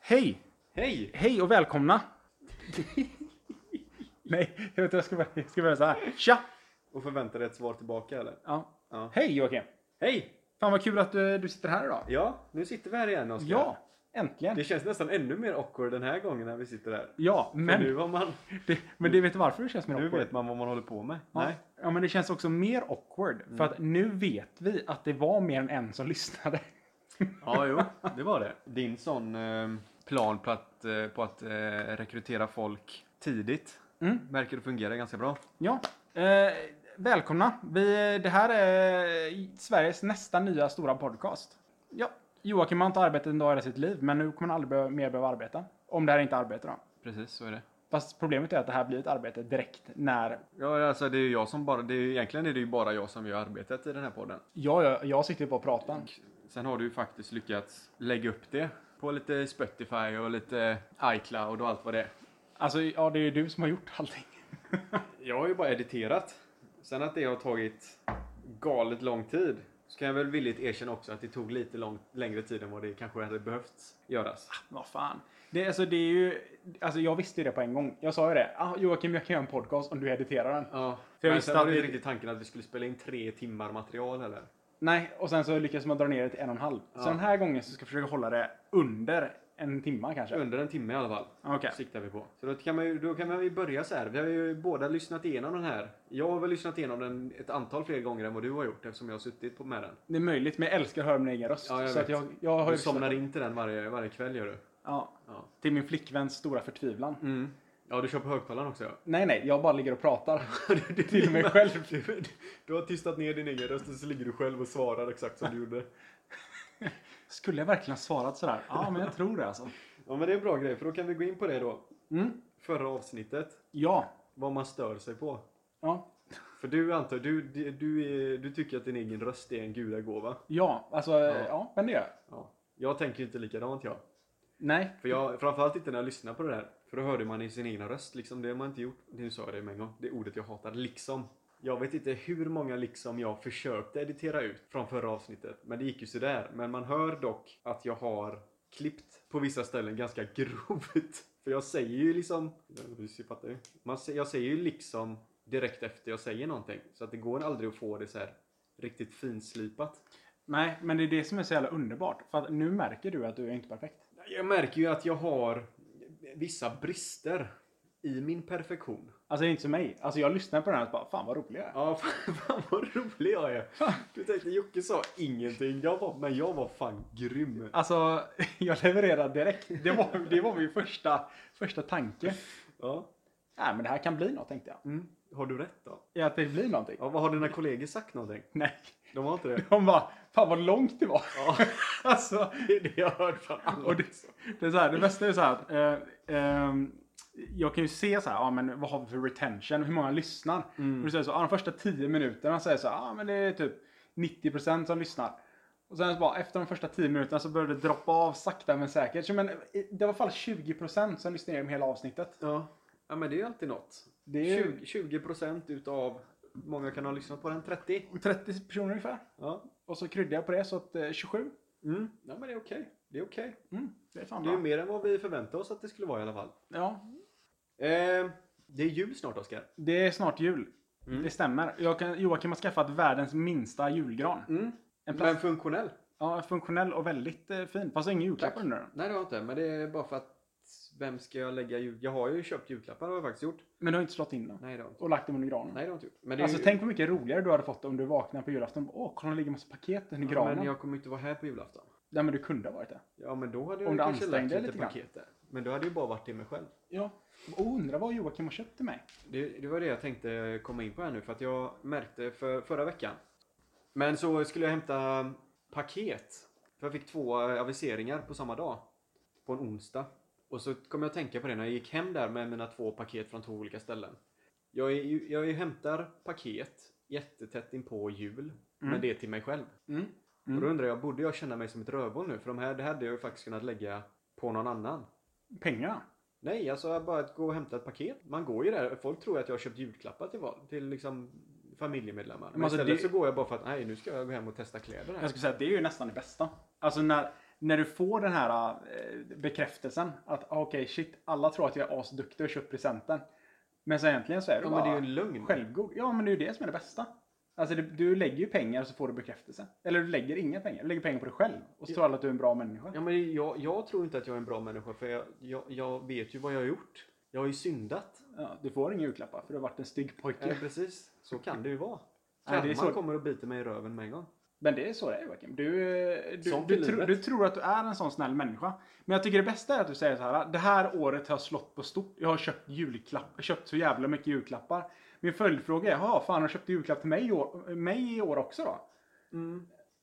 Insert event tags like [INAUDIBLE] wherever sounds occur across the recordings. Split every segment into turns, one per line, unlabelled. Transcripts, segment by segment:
Hej!
Hej!
Hej och välkomna! [LAUGHS] Nej, jag vet inte, jag ska börja, jag ska börja så här. Tja!
Och förväntar dig ett svar tillbaka eller?
Ja.
Ja.
Hej Joakim!
Hej!
Fan vad kul att du, du sitter här idag.
Ja, nu sitter vi här igen Oskar.
Ja, äntligen!
Det känns nästan ännu mer awkward den här gången när vi sitter här.
Ja,
Men nu,
men,
har man,
det, men det vet du varför det känns mer
nu
awkward?
vet man vad man håller på med.
Ja.
Nej. Mm.
Ja, men det känns också mer awkward. För att nu vet vi att det var mer än en som lyssnade. [LAUGHS]
Ja, jo, det var det. [LAUGHS] Din sån eh, plan på att, eh, på att eh, rekrytera folk tidigt
Mm.
verkar fungera ganska bra.
Ja. Eh, välkomna! Vi, det här är Sveriges nästa nya stora podcast. Ja. Joakim har inte arbetat en dag i hela sitt liv, men nu kommer han aldrig behöva- mer behöva arbeta. Om det här inte är arbete då.
Precis, så är det.
Fast problemet är att det här blir ett arbete direkt när
Ja, alltså det är ju jag som bara, det är, egentligen är det ju bara jag som gör arbetet i den här podden.
jag, jag, jag sitter ju på och pratar.
Sen har du ju faktiskt lyckats lägga upp det på lite Spotify och lite iCloud och allt vad det är.
Alltså, ja, det är ju du som har gjort allting. [LAUGHS]
Jag har ju bara editerat. Sen att det har tagit galet lång tid så kan jag väl villigt erkänna också att det tog lite lång, längre tid än vad det kanske hade behövt göras.
Vad fan. Det, alltså, det är ju, alltså, jag visste ju det på en gång. Jag sa ju det. Ah, Joakim, jag kan göra en podcast om du editerar den.
Ja,
jag
men
visste
sen var
att
det ju
det-
inte riktigt tanken att vi skulle spela in tre timmar material heller.
Nej, och sen så lyckas man dra ner det till en och en halv.
Ja.
Så den här gången så ska jag försöka hålla det under en timme kanske.
Under en timme i alla fall.
Okej.
Siktar vi på. Så då kan, man ju, då kan man ju börja så här. Vi har ju båda lyssnat igenom den här. Jag har väl lyssnat igenom den ett antal fler gånger än vad du har gjort eftersom jag har suttit på med den.
Det är möjligt, men jag älskar att höra min egen röst.
Ja, jag
så
vet.
att jag, jag har
Du
ju
somnar in till den varje, varje kväll gör du.
Ja,
Ja.
till min flickväns stora förtvivlan.
Mm. Ja, du kör på högtalaren också ja.
Nej, nej, jag bara ligger och pratar. [LAUGHS]
Du- du-
Till mig själv.
Du, [LAUGHS] du har tystat ner din egen röst och så ligger du själv och svarar exakt som du gjorde.
[LAUGHS] Skulle jag verkligen ha svarat sådär? Ja, men jag tror det alltså.
Ja men det är en bra grej för då kan vi gå in på det då.
Mm.
Förra avsnittet.
Ja.
Vad man stör sig på.
Ja.
För du antar, du, du, du, är- du tycker att din egen röst är en gudagåva.
Ja, alltså, ja, men det gör jag.
Ja. Jag tänker inte likadant jag.
Nej.
För jag, framförallt inte när jag lyssnar på det här. För då hörde man i sin egna röst liksom. Det har man inte gjort. Nu sa jag det med en gång. Det är ordet jag hatar. Liksom. Jag vet inte hur många liksom jag försökte editera ut från förra avsnittet. Men det gick ju sådär. Men man hör dock att jag har klippt på vissa ställen ganska [LAUGHS] grovt. För jag säger ju liksom... Du fattar ju. Man, sä- jag säger ju liksom direkt efter jag säger någonting. Så att det går aldrig att få det så här riktigt finslipat.
Nej, men det är det som är så jävla underbart. För att nu märker du att du är inte perfekt.
Jag märker ju att jag har vissa brister i min perfektion.
Alltså, det är inte som mig. Alltså, jag lyssnar på den här och bara, fan vad rolig jag är.
Ja, [LAUGHS] fan, fan vad rolig jag är. Du tänkte, Jocke sa ingenting, jag var, men jag var fan grym.
[LAUGHS] Alltså, [LAUGHS] jag levererar direkt. Det var, det var min första, första tanke.
Ja.
Nej, men det här kan bli något, tänkte jag.
Mm. Har du rätt då?
Ja, att det blir någonting.
Ja, vad har dina kollegor sagt någonting?
Nej.
De har inte det?
[LAUGHS] De bara, fan vad långt det var.
Ja,
[LAUGHS] Alltså,
[LAUGHS] det är det jag har hört från alla.
och det, det, är så här, det bästa är så här att eh, ehm, jag kan ju se så här, ja men vad har vi för retention, hur många lyssnar? Och du säger så, ja, de första 10 minuterna säger så, här, ja men det är typ 90% som lyssnar. Och sen så bara efter de första 10 minuterna så började det droppa av sakta men säkert. Så, men i- det var i alla fall 20% som lyssnade igenom hela avsnittet.
Ja. ja, men det är ju alltid något.
Det är ju
20, 20% utav, många kan ha lyssnat på den, 30.
30 personer ungefär.
Ja,
Och så kryddade jag på det så att eh, 27.
mm. ja men det är okej. Det är okej.
Mm, det är fan
Det är ju
bra.
mer än vad vi förväntade oss att det skulle vara i alla fall.
Ja,
Eh, det är jul snart, Oskar.
Det är snart jul.
Mm.
Det stämmer. Jag kan, Joakim har skaffat världens minsta julgran.
Mm.
En plast,
Men funktionell?
ja, funktionell och väldigt eh, fin. Fast ingen julklapp
Tack.
under den.
Nej, det har jag inte. Men det är bara för att vem ska jag lägga jul... Jag har ju köpt julklappar, har jag faktiskt gjort.
Men du har inte slått in den.
Nej, det har jag inte.
Och lagt den under granen.
Nej, det har jag inte gjort. Men det är
alltså
ju...
tänk hur mycket roligare du hade fått om du vaknade på julafton. Åh, kolla det ligger massa paket under
ja,
granen.
Men jag kommer inte vara här på julafton.
Nej men du kunde ha varit det.
Ja, men då hade jag
Om
ju
du
kanske lagt
ansträngde dig
lite,
lite grann.
paket där. Men då hade jag ju bara varit till mig själv.
Ja. Och undrar vad Joakim har köpt till mig.
Det, det var det jag tänkte komma in på här nu. För att jag märkte för, förra veckan. Men så skulle jag hämta paket. För jag fick två eh, aviseringar på samma dag. På en onsdag. Och så kom jag att tänka på det när jag gick hem där med mina två paket från två olika ställen. Jag, är, ju- jag är, ju hämtar paket jättetätt in på jul. Men det är till mig själv.
Mm.
Och då
Mm.
undrar jag, borde jag känna mig som ett rövhål nu? För de här, det här hade jag ju faktiskt kunnat lägga på någon annan.
Pengarna.
Nej, alltså bara att gå och hämta ett paket. Man går ju där. Folk tror att jag har köpt julklappar till, val, till liksom familjemedlemmar. Men
alltså,
istället
det-
så går jag bara för att nej, nu ska jag gå hem och testa kläder här.
Jag skulle säga att det är ju nästan det bästa. Alltså när, när du får den här eh, bekräftelsen att ah, okej shit, alla tror att jag är asduktig och köpt presenten. Men så egentligen så är du
Ja,
bara
men det är ju en lögn.
självgod. Ja men det är ju det som är det bästa. Alltså du, du lägger ju pengar så får du bekräftelse. Eller du lägger inga pengar, du lägger pengar på dig själv. Och så tror alla att du är en bra människa.
Ja, men jag, jag tror inte att jag är en bra människa för jag, jag, jag vet ju vad jag har gjort. Jag har ju syndat.
Ja, du får inga julklappar för du har varit en stygg pojke.
Ja, precis. Så kan det ju vara.
Nej, det är
Karman
så-
kommer och biter mig i röven med en gång.
Men det är så det är Joakim. Du, eh, du,
Sånt
du,
är
tro,
livet.
du tror att du är en sån snäll människa. Men jag tycker det bästa är att du säger så här. "Ah, Det här året har jag slått på stort. Jag har köpt, julklapp, köpt så jävla mycket julklappar. Min följdfråga är, jaha, fan har du köpt julklapp till mig i år, mig i år också då?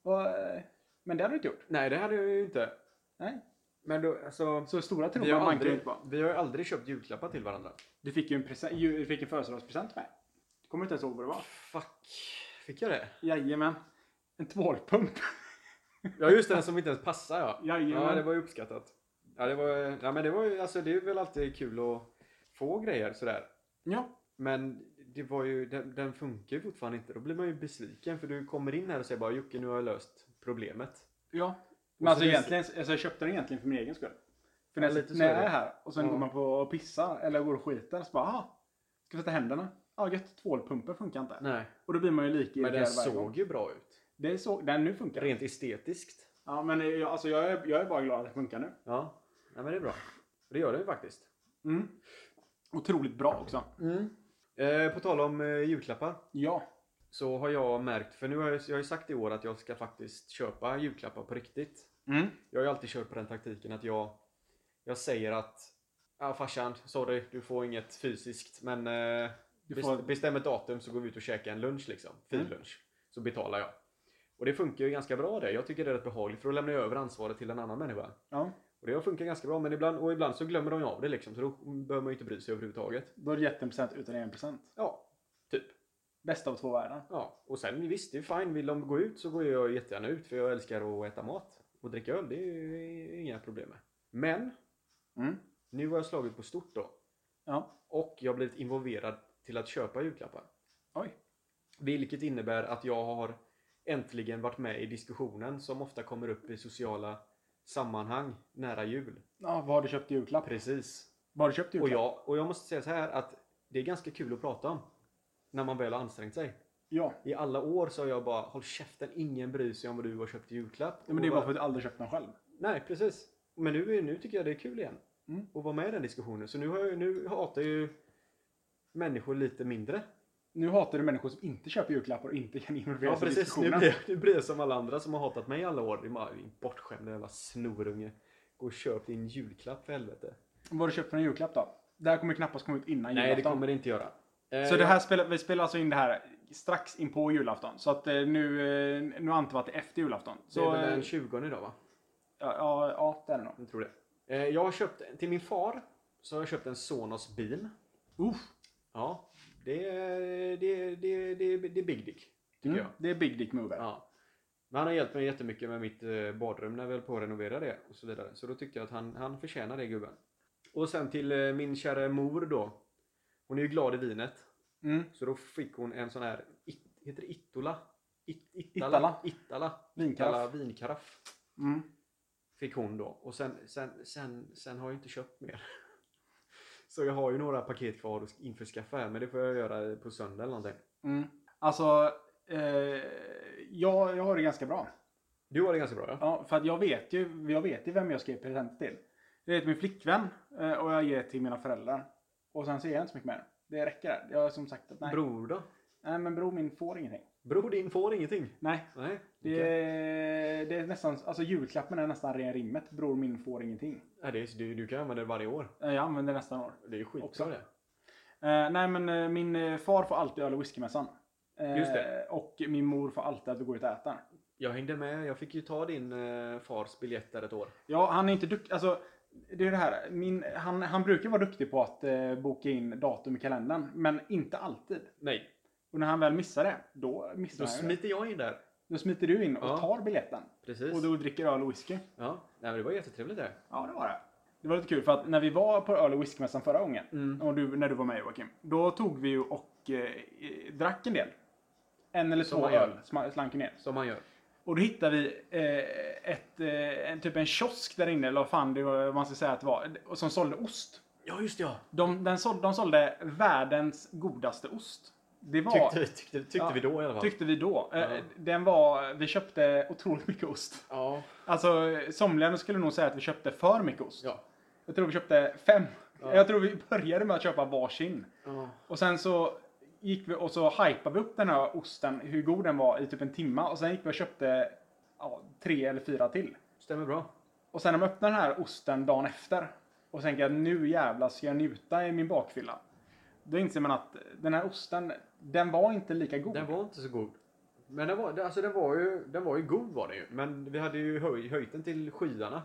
Och, eh, men det har du inte gjort.
Mm. Nej, det hade jag ju inte.
Nej.
Men då, alltså,
Så stora
vi, har
trumman man kan ju
aldrig,
inte vara.
vi har ju aldrig köpt julklappar till varandra.
Du fick ju en, present- ju- du fick en födelsedagspresent med. Kommer du inte ens ihåg vad det var?
Fuck. Fick jag det?
Jajamän. En tvålpump. [LAUGHS]
Ja, just den som inte ens passar ja.
Jajamän.
Ja, det var ju uppskattat. Ja, det var, ja, men det var ju, alltså det är väl alltid kul att få grejer sådär.
ja.
Men det var ju, den, den funkar ju fortfarande inte. Då blir man ju besviken för du kommer in här och säger bara Jocke, nu har jag löst problemet.
Ja.
så
Men alltså,
det-
egentligen, alltså jag köpte den egentligen för min egen skull. För när,
Ja, lite
jag,
så
när
är
jag
det.
är här och sen
Ja.
går man på och pissar eller går och skiter så bara aha, ska sätta händerna. Ja gött, tvålpumpen funkar inte.
Nej.
Och då blir man ju lika
Men den
irriterad varje gång.
såg ju bra ut.
Det såg... Den nu funkar.
Rent estetiskt.
Ja men jag, alltså, jag, är, jag är bara glad att det funkar nu.
Ja. Nej, men det är bra. Det gör den ju faktiskt.
Mm. Otroligt bra också.
Eh, på tal om eh, julklappar.
Ja.
Så har jag märkt, för nu har jag, jag har ju sagt i år att jag ska faktiskt köpa julklappar på riktigt.
Mm.
Jag har ju alltid kört på den taktiken att jag Jag säger att Ja farsan, sorry, du får inget fysiskt men eh,
Du
bes-
får-
Bestäm ett datum så går vi ut och käkar en lunch liksom
Mm.
Fin lunch Så betalar jag Och det funkar ju ganska bra det Jag tycker det är rätt behagligt för då lämnar jag över ansvaret till en annan människa
Ja.
Och det har funkat ganska bra men ibland, och ibland så glömmer de ju av det liksom Så då behöver man ju inte bry sig överhuvudtaget
Då har du gett en present utan en present.
Ja, typ
Bästa av två världar.
Ja, och sen visst, det är fine. Vill de gå ut så går jag jättegärna ut för jag älskar att äta mat. Och dricka öl, det är inga problem med. Men,
Mm.
nu har jag slagit på stort då.
Ja.
Och jag har blivit involverad till att köpa julklappar.
Oj.
Vilket innebär att jag har äntligen varit med i diskussionen som ofta kommer upp i sociala sammanhang nära jul.
Ja, vad har du köpt i julklapp?
Precis.
Vad har du köpt i
Och
julklapp?
jag, och jag måste säga så här att det är ganska kul att prata om. När man väl har ansträngt sig.
Ja.
I alla år så har jag bara håll käften, ingen bryr sig om vad du har köpt i julklapp.
ja. Men det är
Och
bara för att du aldrig köpt den själv.
Nej, precis. Men nu, är- nu tycker jag det är kul igen.
Mm.
Och vara med i den diskussionen. Så nu, har jag, nu hatar jag ju människor lite mindre.
Nu hatar du människor som inte köper julklappar och inte kan involvera
Ja,
sig i
precis. Nu
diskussionen.
blir, jag, nu blir jag som alla andra som har hatat mig i alla år. Det är bara en bortskämd jävla snorunge. Gå och köp din julklapp för helvete.
Vad har du köpt för en julklapp då? Det här kommer knappast komma ut innan
Nej, det
julafton.
kommer det inte göra. Eh,
Så det här spelar, vi spelar alltså in det här strax in på julafton. Så att eh, nu, eh, nu antar vi att det är efter julafton.
Det
Så,
är väl
eh,
den 20 idag va?
ja, ja, ja, det är det nog.
Jag tror det. Eh, Jag har köpt, till min far, så har jag köpt en Sonos bil.
Uff,
Ja, det är, det är, det är, det är, det är big dick, tycker
mm,
jag.
Det är big dick mover.
Ja. Men han har hjälpt mig jättemycket med mitt eh, badrum när jag väl på att renovera det och så vidare. Så då tyckte jag att han, han förtjänar det gubben. Och sen till eh, min kära mor då. Hon är ju glad i vinet.
Mm,
Så då fick hon en sån här, it, heter det Ittola? It,
Ittala.
Ittala? Ittala.
Vinkaraff.
Ittala vinkaraff.
mm.
Fick hon då. Och sen, sen, sen, sen har jag inte köpt mer. [LAUGHS] Så jag har ju några paket kvar att införskaffa här men det får jag göra på söndag eller någonting.
Mm. Alltså, eh, jag, jag har det ganska bra.
Du har det ganska bra ja?
Ja, för att jag vet ju, jag vet ju vem jag ska ge present till. Det är till min flickvän eh, och jag ger till mina föräldrar. Och sen ser jag inte så mycket mer. Det räcker där. Jag har som sagt att nej.
Bror då?
Nej men bror min får ingenting.
Bror din får ingenting?
Nej.
Nej.
Det,
okej.
är, det är nästan, alltså julklappen är nästan ren rimmet. Bror min får ingenting.
Nej, det är, du, du kan använda det varje år.
Eh, Jag använder nästan år.
Det är ju skitbra
Också.
det.
Eh, nej men eh, min eh, far får alltid öl och whiskymässan. Eh,
Just det.
Och min mor får alltid att vi går ut och äter.
Jag hängde med. Jag fick ju ta din eh, fars biljett där ett år.
Ja, han är inte duktig. Alltså, det är det här. Min, han, han brukar vara duktig på att eh, boka in datum i kalendern, men inte alltid.
Nej,
Och när han väl missar det, då missar
då
han ju det.
smiter jag in där.
Då smiter du in och
Ja.
tar biljetten.
Precis.
Och då dricker öl och whisky.
Ja, Nej, men det var jättetrevligt det.
Ja, det var det. Det var lite kul för att när vi var på öl och whiskymässan förra gången,
Mm.
och du, när du var med Joakim, då tog vi ju och eh, drack en del. En eller
Som
två
man gör.
öl sma- slank ner.
Som man gör.
Och då hittade vi eh, ett, eh, en, typ en kiosk där inne, eller vad fan det var, man ska säga att det var, och som sålde ost.
Ja, just det, ja.
De, den såld, de sålde världens godaste ost. Det var,
Tyckte, vi- tyckte, tyckte
Ja.
vi då i alla fall.
tyckte vi då. Eh,
Ja.
Den var, vi köpte otroligt mycket ost.
ja.
Alltså eh, somliga skulle nog säga att vi köpte för mycket ost.
Ja.
Jag tror vi köpte fem.
Ja.
Jag tror vi började med att köpa varsin.
ja.
Och sen så gick vi och så hypade vi upp den här osten, hur god den var, i typ en timma. Och sen gick vi och köpte ja, tre eller fyra till.
Stämmer bra.
Och sen när man öppnar den här osten dagen efter och tänker att nu jävlar ska jag njuta i min bakfylla. Då inser man att den här osten, den var inte lika god.
Den var inte så god. Men den var, alltså den var, ju, den var ju god var den ju. Men vi hade ju höj, höjt den till skyarna.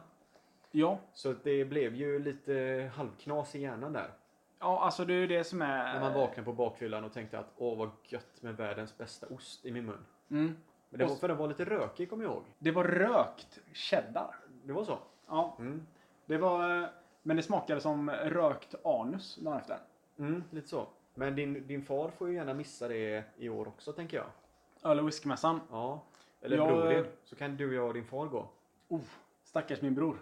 Ja,
Så att det blev ju lite halvknas i hjärnan där.
ja, alltså det är ju det som är...
När man vaknade på bakfyllan och tänkte att åh vad gött med världens bästa ost i min mun.
Mm.
Men det var,
Och-
för den var lite rökig kommer jag ihåg.
Det var rökt cheddar.
Det var så?
Ja,
Mm.
det var... eh, Men det smakade som rökt anus dagen efter.
Mm, lite så. Men din, din far får ju gärna missa det i år också tänker jag.
Öl och whiskymässan.
Ja. eh, Eller
Jag-
bror din. Så kan du, jag och din far gå.
Oh, stackars min bror.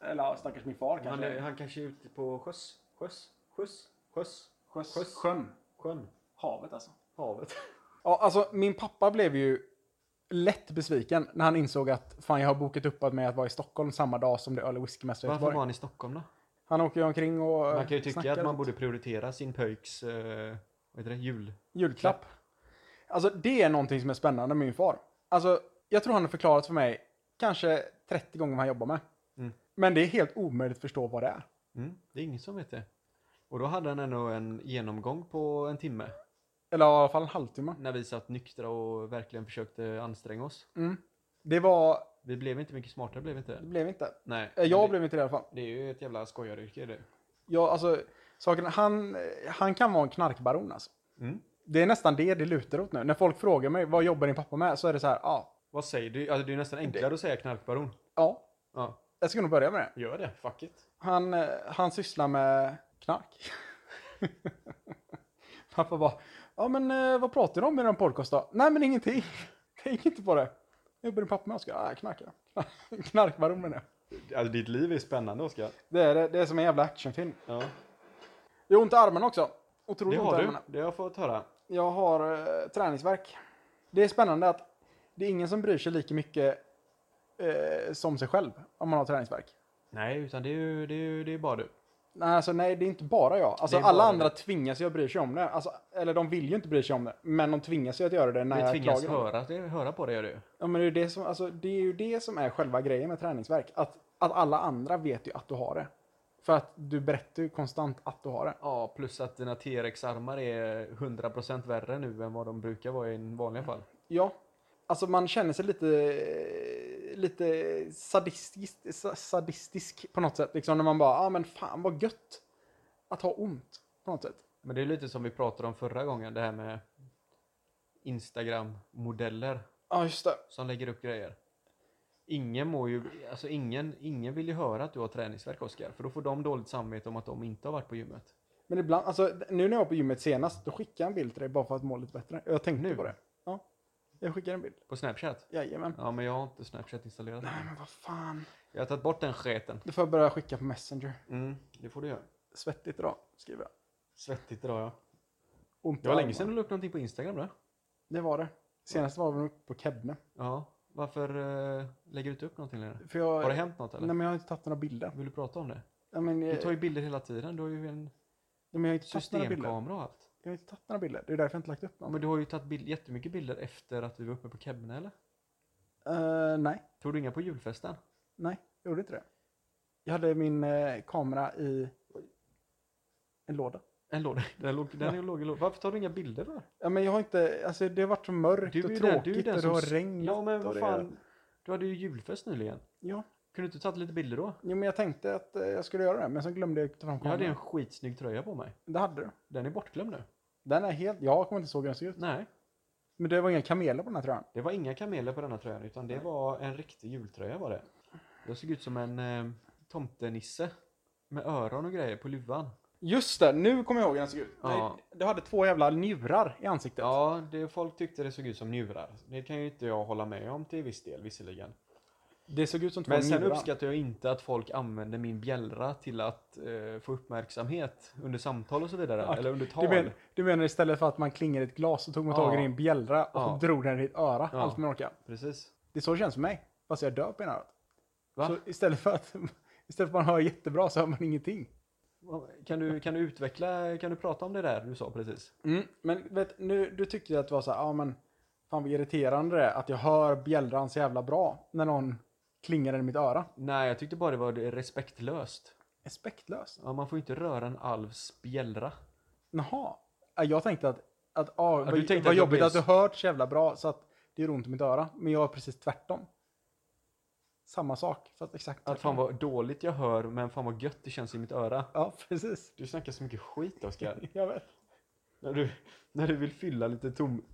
Eller ja, stackars min far
Han,
kanske.
är- han kanske är ute på sjöss. Sjöss. Sjöss. Sjöss.
Sjöss.
Sjöss.
Sjön.
Sjön.
Havet alltså.
Havet.
Ja, alltså min pappa blev ju lätt besviken när han insåg att fan jag har bokat upp att mig att vara i Stockholm samma dag som det är öl och whiskymässa i
[LAUGHS] Varför var
Göteborg.
han i Stockholm då?
Han åker ju omkring och eh,
Man kan ju tycka
snackar
att man
och-
borde prioritera sin pöjks eh, vad heter det, jul.
Julklapp. Alltså det är någonting som är spännande med min far. Alltså jag tror han har förklarat för mig kanske 30 gånger vad han jobbar med.
Mm.
Men det är helt omöjligt att förstå vad det är.
Mm, det är ingen som vet det. Och då hade han ändå en genomgång på en timme.
Eller i alla fall en halvtimme.
När vi satt nyktra och verkligen försökte anstränga oss.
Mm. Det var,
Vi blev inte mycket smartare, blev vi inte?
det blev inte.
Nej.
Eh,
men det,
Jag blev inte det i alla fall.
Det är ju ett jävla skojaryrke det.
Jag, alltså, saken, han, han kan vara en knarkbaron alltså.
Mm.
Det är nästan det det lutar åt nu. När folk frågar mig vad jobbar din pappa med så är det så här, ja,
Vad säger du? Alltså, det är ju nästan enklare att säga knarkbaron.
ja,
Ja,
jag ska nog börja med det.
gör det. Fuck it.
Han, eh, han sysslar med knark. [LAUGHS] pappa bara, ja men eh, vad pratar du om i den podcast då? Nej men ingenting. Tänk inte på det. Jag jobbar din pappa med Oskar? Ja, [LAUGHS] jag knarkar. Knarkbaron menar jag.
Alltså ditt liv är spännande Oskar.
Det är, det, det är som en jävla actionfilm.
Ja.
Jag har ont i armen också. Otroligt
Det
ont i
har
armarna.
du. Det har jag fått höra.
Jag har eh, träningsverk. Det är spännande att det är ingen som bryr sig lika mycket eh, som sig själv om man har träningsverk.
Nej, utan det är ju, det är ju det är bara du.
Nej, alltså, nej, det är inte bara jag. Alltså,
Det är
alla
bara
andra tvingas ju att bry sig om det. Alltså, eller de vill ju inte bry sig om det, men de tvingas ju att göra det när
Vi
jag
tvingas
klagar. om det.
höra, det, höra på det gör du.
Ja, men det, är ju det, som, alltså, det är ju det som är själva grejen med träningsverk. Att, att alla andra vet ju att du har det. För att du berättar ju konstant att du har det.
Ja, plus att dina TRX-armar är 100% värre nu än vad de brukar vara i vanliga fall.
Ja. Alltså man känner sig lite, lite sadistisk, sa- sadistisk på något sätt. Liksom när man bara, ah, men fan vad gött att ha ont på något sätt.
Men det är lite som vi pratade om förra gången, det här med Instagram-modeller
Ja, just det.
som lägger upp grejer. Ingen mår ju, alltså ingen, ingen vill ju höra att du har träningsvärk Oskar, för då får de dåligt samvete om att de inte har varit på gymmet.
Men ibland, alltså nu när jag var på gymmet senast, då skickade jag en bild till dig bara för att må lite bättre. Jag tänkte
Nu?
på det. Ja. Jag skickade en bild.
På Snapchat?
Jajamän.
Ja, men jag har inte Snapchat installerat.
Nej men vad fan.
Jag har tagit bort den sketen.
Då får jag börja skicka på Messenger.
Mm, det får du göra.
Svettigt idag, skriver jag.
Svettigt idag ja.
Ont i
Det var länge
armarna.
sedan du la upp någonting på Instagram då?
Det var det. Senast var vi nog på Kebne.
Ja. Varför eh, lägger du inte upp någonting längre?
För jag,
Har det hänt något eller?
Nej men jag har inte tagit några bilder.
Vill du prata om det?
Ja, men,
Du
jag,
tar ju bilder hela tiden. Du har ju en
men jag har inte tagit några bilder.
systemkamera och allt.
Jag har inte tagit några bilder. Det är därför jag inte lagt upp
Ja,
någon.
men du har ju tagit bild, jättemycket bilder efter att vi var uppe på Kebne eller?
Eh, nej,
Tog du inga på julfesten?
nej, jag gjorde inte det. Jag hade min eh, kamera i en låda.
En [LAUGHS] låda. Den låg, den låg, i lådan. Varför tar du inga bilder för?
Ja, men jag har inte, alltså det har varit så mörkt
Du är
och
ju den- du är ju
tråkigt
den
och det
som
har
s-
regnat.
Ja men
och
vad
det-
fan. Du hade ju julfest nyligen.
Ja,
Kunde du inte tagit lite bilder då?
jo, men jag tänkte att eh, jag skulle göra det, men sen glömde jag ta fram
Jag
kameran.
hade ju en skitsnygg tröja på mig.
Det hade du.
Den är bortglömd nu.
Den är helt, jag kommer inte ihåg hur den såg ut.
Nej,
Men det var inga kameler på den här tröjan.
det var inga kameler på denna tröjan utan det var en riktig jultröja var det. Jag såg ut som en eh, tomtenisse med öron och grejer på luvan.
Just det, nu kommer jag ihåg hur den såg ut.
Ja.
Nej, Du hade två jävla njurar i ansiktet.
Ja, det, folk tyckte det såg ut som njurar. Det kan ju inte jag hålla med om till viss del visserligen.
Det såg ut som två
Men sen
njurar.
uppskattar jag inte att folk använder min bjällra till att eh, få uppmärksamhet under samtal och så vidare.
Okej.
Eller under tal.
du, men, du menar istället för att man klingar i ett glas så tog man tag i
Ja.
din bjällra och
Ja.
drog den i ditt öra,
Ja.
allt man orkade.
Precis.
Det är så det känns för mig, fast jag dör på ena örat.
Va?
Så istället för att [LAUGHS] istället för att man hör jättebra så hör man ingenting.
Kan du, kan du utveckla, kan du prata om det där du sa precis?
Mm, Men vet, nu, du tyckte ju att det var så här, ja men fan vad irriterande det är att jag hör bjällran så jävla bra när någon klingar den i mitt öra.
Nej, jag tyckte bara det var respektlöst.
Respektlöst.
Ja, man får inte röra en alvs bjällra.
Jaha. Ja, Jag tänkte att, att ja, vad,
du tänkte
vad
att jag
jobbigt
blir
att du
så-
hört så jävla bra så att det gör ont i mitt öra. Men jag är precis tvärtom. Samma sak, fast exakt
Att fan
tvärtom.
vad dåligt jag hör, men fan vad gött det känns i mitt öra. [LAUGHS]
Ja, precis.
Du snackar så mycket skit Oskar. [LAUGHS]
Jag vet.
när, du, när du vill fylla lite tom,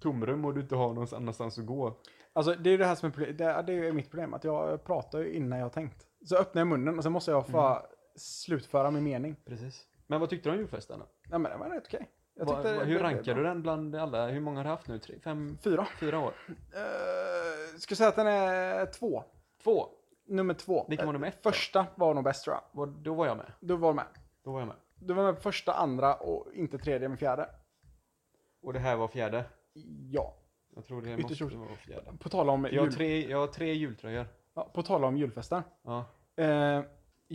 tomrum och du inte har någon annanstans att gå.
Alltså det är ju det här som är problem. Det är, det är mitt problem, att jag pratar ju innan jag har tänkt. Så öppnar jag munnen och sen måste jag få
Mm.
slutföra min mening.
Precis. Men vad tyckte du om julfesten då?
Nej men det var rätt okej. Jag
Vad-
tyckte det
vad- hur
blev-
rankar
bra.
du den bland alla? Hur många har du haft nu? Tre, fem,
Fyra.
fyra år?
Uh, ska säga att den är två.
Två!
Nummer två.
Vilken var
Eh,
nummer ett då?
Första var nog bäst tror jag.
Var, då var jag med.
Du var med.
Då var jag med.
Du var med på första, andra och inte tredje men fjärde.
Och det här var fjärde.
Ja.
Jag tror det
Ytterst
måste
roligt.
vara fjärde.
På tal om,
Jag har
jul,
tre, jag har tre jultröjor.
ja, på tal om julfesten.
Ja.
Eh,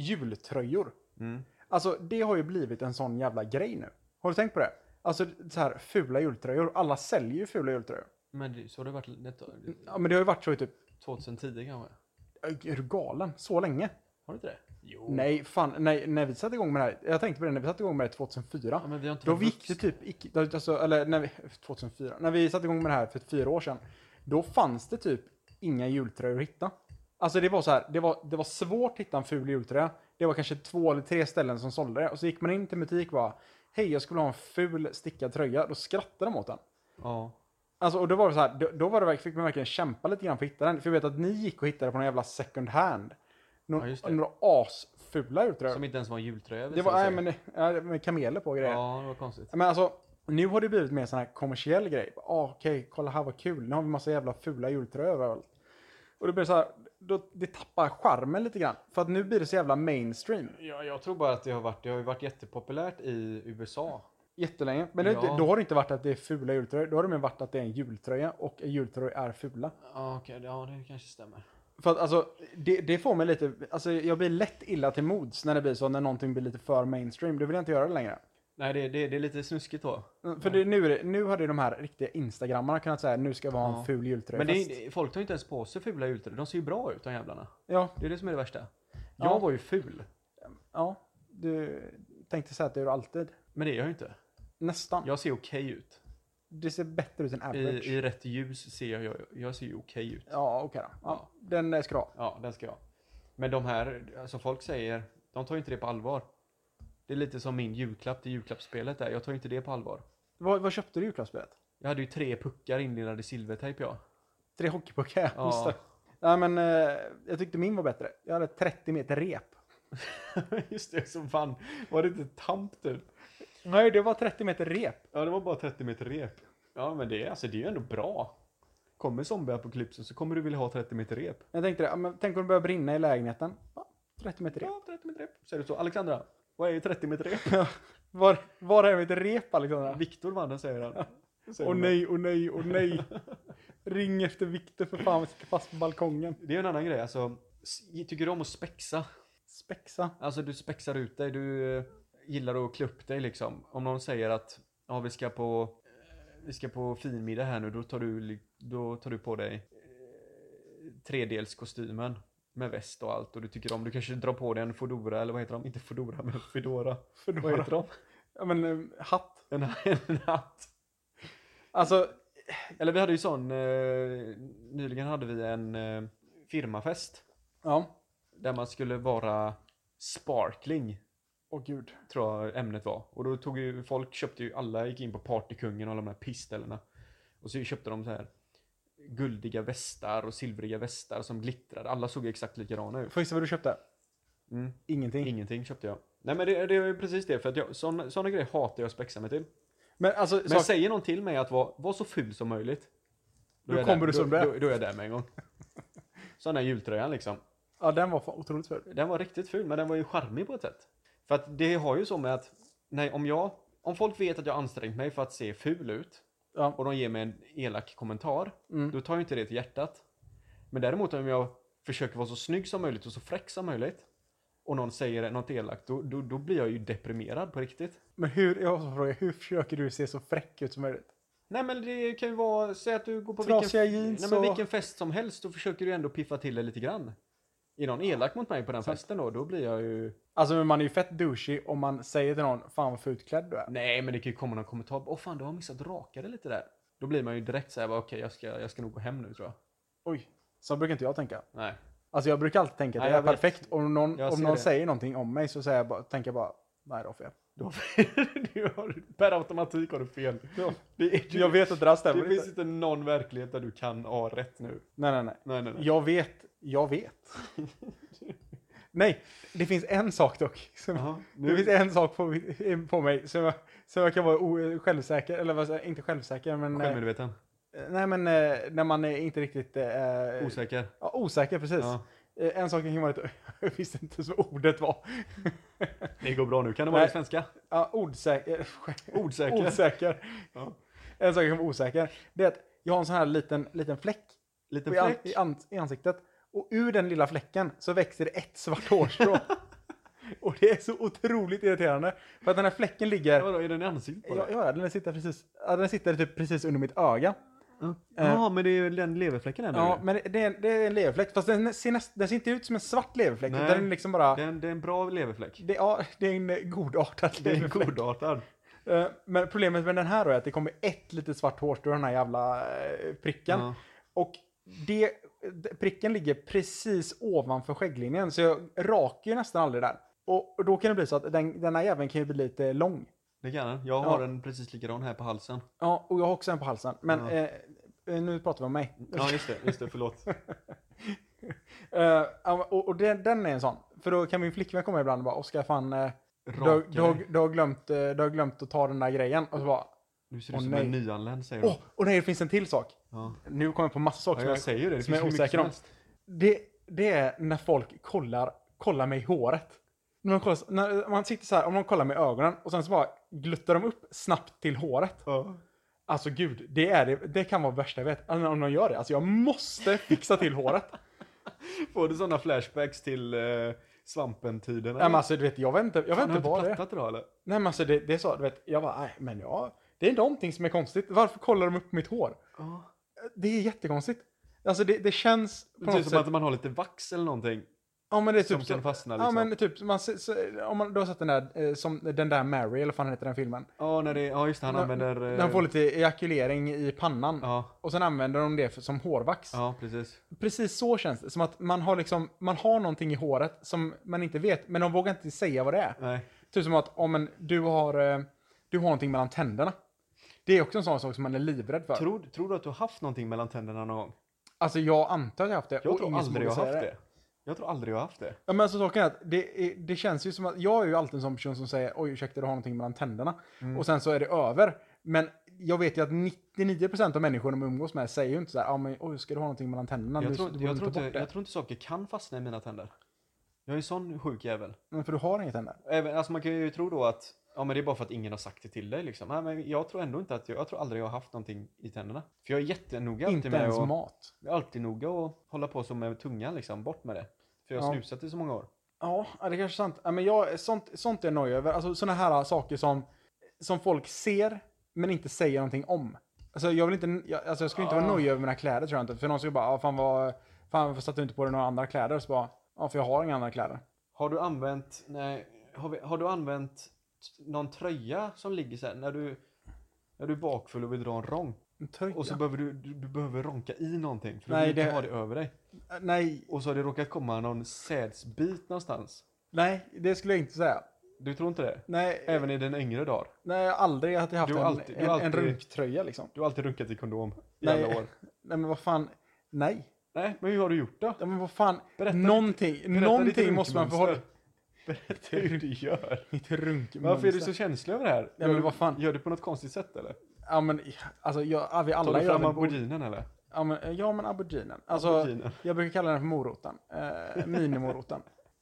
jultröjor.
Mm.
Alltså det har ju blivit en sån jävla grej nu. Har du tänkt på det? Alltså så här fula jultröjor. Alla säljer ju fula jultröjor.
Men det- så har det varit ett,
Ja men det har ju varit så i typ,
2010 kanske?
är du galen? Så länge?
Har du inte det? Jo.
Nej, fan, nej, när vi satte igång med det här. Jag tänkte på det när vi satte igång med det 2004.
Ja, men vi har inte
Då
varit
gick det typ, icke- alltså, eller när vi, 2004, när vi satte igång med det här för fyra år sedan, då fanns det typ inga jultröjor att hitta. Alltså det var så här, det var, det var svårt att hitta en ful jultröja. Det var kanske två eller tre ställen som sålde det. Och så gick man in till en butik och bara, hej jag skulle ha en ful stickad tröja. Då skrattade de åt den.
Ja.
Alltså och då var det så här, då, då var det, verk- fick man verkligen kämpa lite grann för att hitta den. För jag vet att ni gick och hittade på någon jävla second hand.
Ja,
Några,
just det.
några asfula jultröjor.
Som inte ens var en jultröja.
det
visade
var,
sig.
nej men, ja, med kameler på och grejer.
Ja, det var konstigt.
Men alltså, nu har det blivit mer sån här kommersiell grej. Ah, Okej, kolla här vad kul. Nu har vi massa jävla fula jultröjor överallt. Och det blir så här, då, det tappar charmen lite grann. För att nu blir det så jävla mainstream.
Ja, jag tror bara att det har varit, det har ju varit jättepopulärt i USA.
Jättelänge. Men det,
Ja.
då har det inte varit att det är fula jultröjor. Då har det mer varit att det är en jultröja och en jultröja är fula.
Ja, okej, ja det kanske stämmer.
För att alltså, det, det får mig lite, alltså jag blir lätt illa till mods när det blir så, när någonting blir lite för mainstream. Då vill jag inte göra det längre.
Nej, det, det, det är lite snuskigt då.
För det, nu, är det, nu hade de här riktiga instagrammarna kunnat säga, nu ska vi ha en
Ja.
ful jultröja.
Men det, är- folk tar ju inte ens på sig fula jultröjor. De ser ju bra ut, de jävlarna.
ja,
Det är det som är det värsta.
Ja.
Jag var ju ful.
Ja, du tänkte säga att det gör du alltid.
Men det är jag ju inte.
Nästan.
Jag ser okej ut.
Det ser bättre ut än
I,
average.
I rätt ljus ser jag, jag, jag ser ju okej ut.
Ja, okej då. Ja, Den eh, ska du ha.
Ja, den ska jag. Men de här, alltså folk säger, de tar ju inte det på allvar. Det är lite som min julklapp till julklappsspelet där. Jag tar ju inte det på allvar.
Vad, vad köpte du i julklappsspelet?
Jag hade ju tre puckar inlindade i silvertejp jag.
Tre hockeypuckar?
Ja.
Ja. Nej, men eh, jag tyckte min var bättre. Jag hade 30 meter rep.
[LAUGHS] Just det, som fan. Var det inte tamp typ?
Nej, det var 30 meter rep.
Ja, det var bara 30 meter rep. Ja, men det, är- alltså, det är ju ändå bra. Kommer zombieapokalypsen så kommer du vilja ha 30 meter rep.
Jag tänkte det, ja, men tänk om det börjar brinna i lägenheten. Ja, 30 meter rep.
Ja, 30 meter rep. Säger du så? Alexandra, vad är 30 meter rep?
Var, var är mitt rep, Alexandra?
Viktor vann den, säger han. Säger
Åh
hon.
nej, åh nej, åh [LAUGHS] nej. Ring efter Viktor för fan, vi sitter fast på balkongen.
Det är en annan grej, alltså. s- Tycker du om att spexa?
Spexa.
Alltså du spexar ut dig, du eh, gillar att klä upp dig liksom. Om någon säger att ja, vi ska på eh, vi ska på finmiddag här nu, då tar du, li- då tar du på dig eh, tredelskostymen med väst och allt och du tycker om, du kanske drar på dig en fodora eller vad heter de? Inte fodora men fedora.
För då
Vad heter de?
Ja, men eh, hatt.
En, en hatt.
Alltså,
Eller vi hade ju sån, eh, nyligen hade vi en eh, firmafest
ja.
där man skulle vara sparkling.
Åh gud.
tror jag ämnet var. Och då tog ju folk, köpte ju alla, gick in på Partykungen och alla de här pissställena. Och så köpte de så här guldiga västar och silvriga västar som glittrade. Alla såg ju exakt likadana ut.
Får jag gissa vad du köpte?
Mm.
Ingenting.
Ingenting köpte jag. Nej men det, det är ju precis det, för att jag, sån, såna grejer hatar jag att spexa mig till.
Men alltså,
Men
sak-
säger någon till mig att vara, var så ful som möjligt.
Då
är jag
kommer
där.
du som du är.
Då, då är jag där med en gång. Sån där jultröjan liksom.
ja, den var fan otroligt ful.
Den var riktigt ful, men den var ju charmig på ett sätt. För att det har ju så med att, nej om jag, om folk vet att jag har ansträngt mig för att se ful ut
Ja.
och de ger mig en elak kommentar,
Mm.
då tar jag inte det till hjärtat. Men däremot om jag försöker vara så snygg som möjligt och så fräck som möjligt och någon säger något elakt, då, då, då blir jag ju deprimerad på riktigt.
Men hur, jag måste fråga, hur försöker du se så fräck ut som möjligt?
Nej men det kan ju vara, säg att du går på
Trasiga
vilken,
jeans
nej, men
och-
vilken fest som helst, då försöker du ändå piffa till det lite grann. Är någon elak mot mig på den
Sant.
festen då, då blir jag ju...
Alltså men man är ju fett douchey om man säger till någon, fan vad fult klädd du är.
Nej men det kan ju komma någon kommentar, åh fan du har missat raka dig lite där. Då blir man ju direkt såhär, bara, okej jag, ska, jag ska nog gå hem nu tror jag.
Oj, så brukar inte jag tänka.
Nej.
Alltså jag brukar alltid tänka att
Nej,
jag är
jag vet.
perfekt. Om någon,
Jag
om
ser
någon
det.
säger någonting om mig så säger jag bara, tänker jag bara, vad är det för fel?
Då du har, [LAUGHS] per automatik har du fel.
Ja.
Det, är,
Jag vet att det där
det
stämmer
finns
inte.
inte någon verklighet där du kan ha rätt nu.
Nej, nej, nej.
Nej nej nej.
Jag vet, jag
[LAUGHS]
vet. nej, det finns en sak dock. Som,
Jaha,
Det
nu,
finns en sak på, på mig som jag, som jag kan vara o, självsäker, eller vad säger jag, inte självsäker, men... eh,
självmedveten,
Nej, men eh, när man är inte riktigt... Eh,
osäker.
Ja, osäker, precis.
Ja.
Eh, En sak jag kan vara lite... [LAUGHS] Jag visste inte ens vad ordet var.
Det går bra nu, kan det vara
Nej.
det svenska?
Ja, ordsäker. [LAUGHS]
Ordsäker.
Osäker.
Ja.
En sak jag kan vara osäker, det är att jag har en sån här liten, liten fläck,
Liten
i, an,
fläck.
i, an, i ansiktet. Och ur den lilla fläcken så växer det ett svart
[LAUGHS]
hårstrå. och det är så otroligt irriterande. För att den här fläcken ligger...
Vadå, är den i ansiktet på
Ja,
dig?
ja den, sitter precis, ja, den sitter typ precis under mitt öga.
Ja,
Eh.
ah, men det är ju den leverfläcken där
Ja,
nu.
men det- det är, en- det är en leverfläck. Fast den ser, näst, den ser inte ut som en svart leverfläck.
Nej.
utan Den är liksom bara...
Det är, en, det är en bra leverfläck.
Det, ja, det är en eh, godartad
Det är en
leverfläck.
godartad.
Eh, Men problemet med den här då är att det kommer ett litet svart hårstrå i den här jävla eh, pricken.
Ja.
Och det, d- pricken ligger precis ovanför skägglinjen. Så jag rakar ju nästan aldrig där. Och och då kan det bli så att den, den här jäveln kan ju bli lite lång.
Det kan den. Jag har
Ja.
en precis likadan här på halsen.
Ja, och jag har också en på halsen. Men
Ja.
eh, eh, nu pratar vi om mig.
Ja, just det. Just det,
[LAUGHS]
förlåt.
Eh, ja, och och den, den är en sån. För då kan min flickvän komma ibland och bara Oskar fan, eh, du, har-
Raka
du, har-
dig.
du, har glömt, eh, du har glömt att ta den där grejen. Och så bara,
Nu ser du
Åh,
ut som
nej.
en nyanländ, säger
åh,
hon.
och nej det finns en till sak.
Ja.
Nu kommer jag på massa saker
Ja, jag
som
säger ju det. Det
som jag
finns
är
hur mycket
osäker om.
som helst.
jag, det, det är när folk kollar, kollar mig i håret. När, de kollar, så- när man sitter så här, om de kollar mig i ögonen och sen så bara gluttar de upp snabbt till håret.
Ja.
Alltså gud, det, är det, det kan vara värsta jag vet. Alltså, om de gör det, alltså jag måste fixa till håret.
Får du sådana flashbacks till eh, svampen-tiden?
Nej men alltså du vet, jag vet inte, jag vet
Fan, har
inte
du
vad det är.
plattat idag eller?
Nej men alltså det, det är så, du vet, jag bara, nej men ja, det är någonting som är konstigt. Varför kollar de upp mitt hår?
Ja.
Det är jättekonstigt. Alltså det, det känns på
Det är
något
typ som
sätt.
att man har lite vax eller någonting.
Ja men det är
Som
typ
kan
så,
fastna
Ja
liksom. Ja,
men typ, man, ser- så, om man då har sett den där, eh, som, den där Mary, eller vad fan heter den filmen?
när det, ja just det. Han
När-
använder... eh,
Den får lite ejakulering i pannan.
Ja,
Och sen använder de det för, som hårvax.
ja precis.
Precis så känns det. Som att man har liksom, man har någonting i håret som man inte vet, men de vågar inte säga vad det är.
Nej.
Typ som att, om en, du har, eh, du har någonting mellan tänderna. Det är också en sån sak som man är livrädd för.
Tror, tror du att du har haft någonting mellan tänderna någon gång?
Alltså jag antar att jag haft det.
Jag
och
tror
ingen som
aldrig jag
vågar
har
säga
haft det. Jag tror aldrig jag har haft det.
Ja, men alltså saken är att det, är- det känns ju som att jag är ju alltid en sån person som säger oj ursäkta du har någonting mellan tänderna
Mm.
och sen så är det över. Men jag vet ju att 99% av människorna de umgås med säger ju inte så här, ja men oj ska du ha någonting mellan tänderna?
Jag
du,
tror,
du
inte-
borde
jag, tror
ta bort
inte,
det."
jag tror inte saker kan fastna i mina tänder. Jag är en sån sjuk jävel.
Men för du har inga tänder.
Även, alltså man kan ju tro då att ja, men det är bara för att ingen har sagt det till dig. Liksom. Nej, men jag tror ändå inte att jag, jag tror aldrig jag har haft någonting i tänderna. För jag är jättenoga
inte
alltid med
ens
och,
mat.
jag är alltid noga och hålla på som med tungan liksom, bort med det. För jag
Ja.
har snusat i så många år.
Ja, ja, det är kanske är sant. Ja, men jag, sånt, sånt är jag nöjd över. Alltså såna här saker som, som folk ser men inte säger någonting om. Alltså jag vill inte, jag, alltså, jag skulle inte vara
Ah.
nöjd över mina kläder tror jag inte. För någon skulle bara, ah, fan vad, fan varför satte du inte på dig några andra kläder? Så bara, ja för jag har inga andra kläder.
Har du använt, nej, har, vi, har du använt någon tröja som ligger så här när du, när du är bakfull och vill dra en ronk
En tröja?
och så behöver du, du, du behöver ronka i någonting för du
Nej,
vill inte
det-
ha det över dig.
Äh, nej,
Och så har det råkat komma någon sädsbit någonstans.
nej, det skulle jag inte säga.
Du tror inte det?
Nej,
Även i den yngre dagar.
nej jag har aldrig haft, haft
Du
en,
har alltid- du
en,
har
en
alltid-
runktröja liksom.
Du har alltid runkat i kondom i
Nej.
alla år.
Nej men vad fan, nej.
Nej, men hur har du gjort då?
Ja, men vad fan,
Berätta
någonting,
lite
någonting
runkmönster.
måste man förhålla...
[LAUGHS]
[LAUGHS]
Berätta hur du gör.
Mitt runkmönster.
Varför är du så känslig över det här?
Nej, men vad fan.
Gör du på något konstigt sätt eller?
Ja men, alltså jag, ja, vi
Tar
alla
du fram
väl-
auberginen eller?
Ja men, ja, men auberginen. Alltså,
Auberginen.
jag brukar kalla den för moroten. Eh, minimoroten.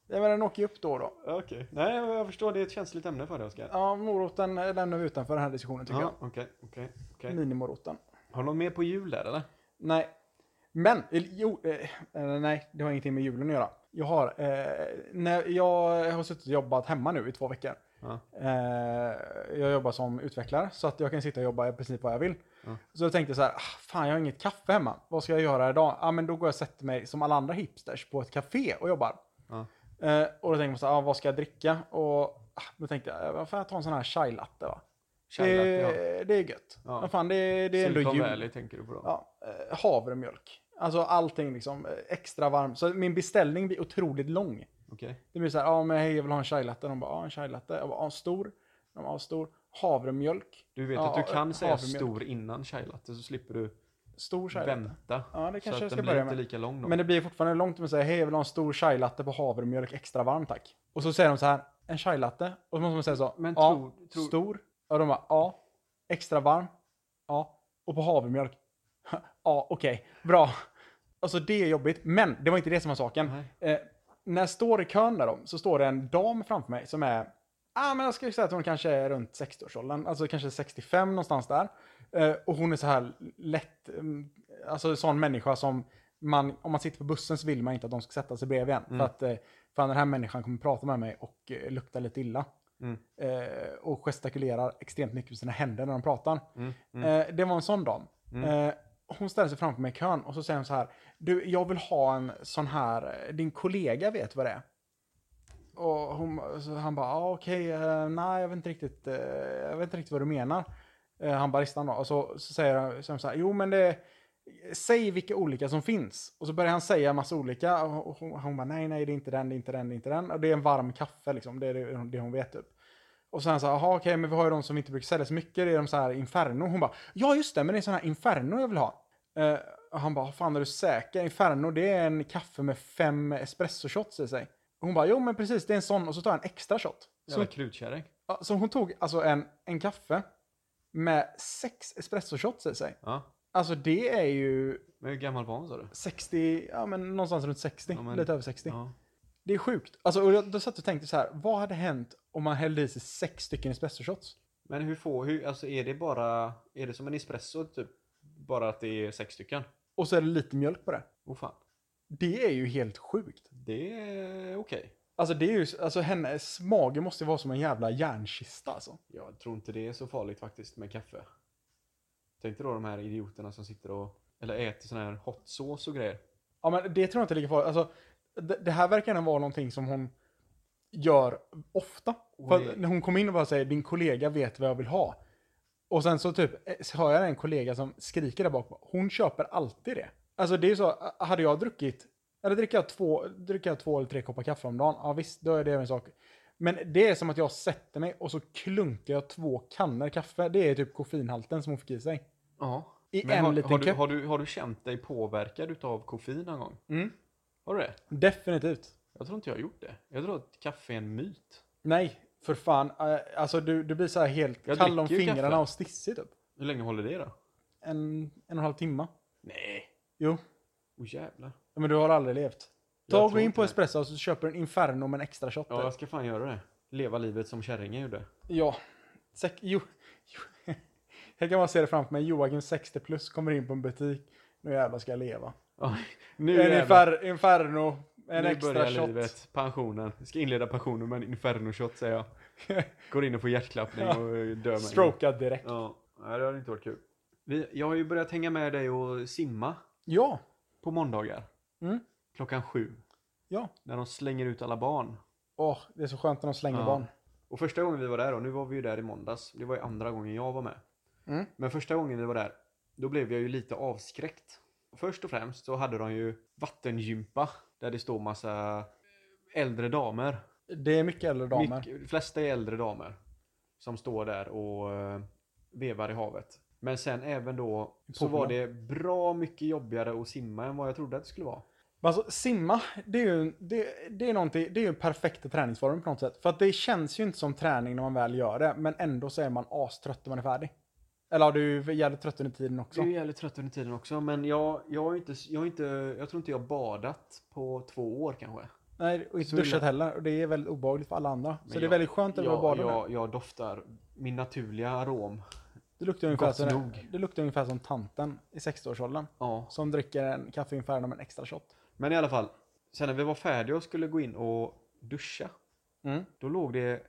Nej men den åker ju upp då och då.
Ja, Okej. Nej, jag förstår. Det är ett känsligt ämne för dig Oskar.
Ja, moroten eh, lämnar vi utanför den här diskussionen tycker
Ja, okej, okej,
jag.
okej.
Minimoroten.
Har du något mer på jul där eller?
Nej. Men, eller, jo, eh, eh, nej, det har ingenting med julen att göra. Jag har, eh, när jag har suttit och jobbat hemma nu i två veckor.
Ja.
Eh, jag jobbar som utvecklare så att jag kan sitta och jobba i princip vad jag vill.
Ja.
Så jag tänkte så här, ah, fan jag har inget kaffe hemma. Vad ska jag göra idag? Ja ah, men då går jag och sätter mig som alla andra hipsters på ett café och jobbar.
Ja.
Eh, och då tänker man så här, ah, vad ska jag dricka? Och ah, då tänkte jag, vad fan jag tar en sån här chai latte va?
Chai latte,
det, det är gött.
Ja.
Men fan Eh, det, det är ändå
Silicon
jul.
Valley tänker du på då?
Ja, eh, havremjölk. Alltså allting liksom eh, extra varm. Så min beställning blir otroligt lång.
Okej.
Det blir så här, ja men hej jag vill ha en chai latte. De bara, ja en chai latte. Jag bara, ja stor. De bara, ja stor. Havremjölk.
Du vet
Ja,
att du kan säga
havremjölk.
stor innan chai latte så slipper du
Stor chai latte.
vänta.
Ja, det kanske
så att
jag ska
den
börja
blir inte
med.
lika lång då.
Men det blir fortfarande långt om att säga, hej jag vill ha en stor chai latte på havremjölk extra varm tack. Och så säger de så här, en chai latte. Och så måste man säga så,
Men
ja,
tror- tror-
stor. Och de bara, ja. Extra varm. Ja. Och på havremjölk. Ja, okej. Bra. Alltså det är jobbigt, men det var inte det som var saken. Eh, när jag står i kön där då, så står det en dam framför mig som är, ah, men jag skulle säga att hon kanske är runt 60-årsåldern, alltså kanske 65 någonstans där. Eh, och hon är så här lätt, mm, alltså sån människa som man, om man sitter på bussen så vill man inte att de ska sätta sig bredvid en. För att eh, fan, den här människan kommer prata med mig och eh, lukta lite illa.
Mm.
Eh, och gestikulerar extremt mycket med sina händer när de pratar.
Mm,
Eh, det var en sån dam. Eh, hon ställer sig framför mig i kön och så säger hon så här. Du, jag vill ha en sån här, eh, din kollega vet vad det är. Och hon, så han bara, ah, okej, eh, nej jag vet inte riktigt, eh, jag vet inte riktigt vad du menar. Eh, han baristan då. Och så, så säger han så, så här, jo men det, säg vilka olika som finns. Och så börjar han säga massa olika. Och hon, hon bara, nej nej det är inte den, det är inte den, det är inte den. Och det är en varm kaffe liksom, det är det, det hon vet typ. Och sen så här, jaha okej, men vi har ju de som vi inte brukar sälja så mycket, det är de så här Inferno. Hon bara, ja just det, men det är sån här Inferno jag vill ha. Eh, och han bara, fan är du säker? Inferno det är en kaffe med fem espresso shots i sig. Och hon bara, jo men precis det är en sån och så tar jag en extra shot. Så,
Jävla krutkärring.
ja, så hon tog alltså en, en kaffe med sex espresso shots i sig.
Ja.
Alltså det är ju
Men hur gammal var hon sa du?
60, ja men någonstans runt 60,
Ja, men-
lite över 60.
Ja.
Det är sjukt. Alltså, och jag, då satt jag och tänkte så här, vad hade hänt om man hällde i sig sex stycken espresso shots?
Men hur får, hur, alltså är det bara, är det som en espresso typ? Bara att det är sex stycken?
Och så är det lite mjölk på det.
Åh fan.
Det är ju helt sjukt.
Det är okej.
Alltså, det är ju, alltså hennes mage måste ju vara som en jävla järnkista alltså.
Jag tror inte det är så farligt faktiskt med kaffe. Tänk dig då de här idioterna som sitter och, eller äter sån här hot sauce och grejer.
Ja, men det tror jag inte är lika farligt. Alltså, det, det här verkar ändå vara någonting som hon gör ofta. För
Oj.
att när hon kom in och bara säger din kollega vet vad jag vill ha. Och sen så typ eh, så hör jag en kollega som skriker där bak. Hon köper alltid det. Alltså det är ju så, eh, hade jag druckit, eller dricker jag två, dricker jag två eller tre koppar kaffe om dagen, ja visst, då är det en sak. Men det är som att jag sätter mig och så klunkar jag två kannor kaffe. Det är typ koffeinhalten som hon fick i sig.
Ja.
I
Men
en
har,
liten
har, du,
kopp.
har, du, har du känt dig påverkad utav koffein någon gång?
Mm.
Har du det?
Definitivt.
Jag tror inte jag har gjort det. Jag tror att kaffe är en myt.
Nej, för fan. Eh, Alltså du, du blir så här helt
Jag
kall om
dricker ju
fingrarna
kaffe.
och stissig typ.
Hur länge håller det då?
En, en och en halv timme.
Nej.
Jo,
Åh jävlar.
Ja, men du har aldrig levt.
Jag
Ta och gå
tror
in
inte
på
det.
Espresso och så köper du en Inferno med en extra shot.
Ja,
Ja.
jag ska fan göra det. Leva livet som kärringen gjorde.
ja. Sek- jo. jo. [LAUGHS] Jag kan bara se det framför mig. Joakim 60 plus kommer in på en butik. Nu jävlar ska jag leva.
Oj, nu
En
jävlar.
infer- Inferno, en
nu
extra
börjar
shot. [LAUGHS]
livet. Pensionen. Jag ska inleda pensionen med en inferno-shot säger jag. Går in och får hjärtklappning
Ja.
och dör mig.
Strokad direkt.
Ja, nej, det har inte varit kul. Vi, jag har ju börjat hänga med dig och simma
Ja.
på måndagar.
Mm.
Klockan sju.
Ja.
När de slänger ut alla barn.
Åh, det är så skönt när de slänger
Ja.
barn.
Och första gången vi var där, och nu var vi ju där i måndags. Det var ju andra gången jag var med.
Mm.
Men första gången vi var där, då blev jag ju lite avskräckt. Först och främst så hade de ju vattengympa där det står massa äldre damer.
Det är mycket äldre damer.
Mycket- de flesta är äldre damer som står där och eh, vevar i havet. Men sen även då så
Poolen.
var det bra mycket jobbigare att simma än vad jag trodde att det skulle vara.
Men Alltså simma, det är ju det, det är någonting, det är ju en perfekt träningsform på något sätt. För att det känns ju inte som träning när man väl gör det, men ändå så är man astrött när man är färdig. Eller ja, du är jävligt trött under tiden också.
Du är ju jävligt trött under tiden också, men jag, jag, har ju inte, jag, har inte, jag tror inte jag har badat på två år kanske.
Nej, och inte
Så
duschat
illa.
heller. Och det är väldigt obehagligt för alla andra.
Men
så det är
jag-
väldigt skönt att vara
Jag,
badare.
jag, jag doftar min naturliga arom.
Det luktar ungefär,
Gott
som,
nog.
det luktar ungefär som tanten i 60-årsåldern.
Ja.
Som dricker en kaffe inför med en extra shot.
Men i alla fall, sen när vi var färdiga och skulle gå in och duscha,
Mm.
då låg det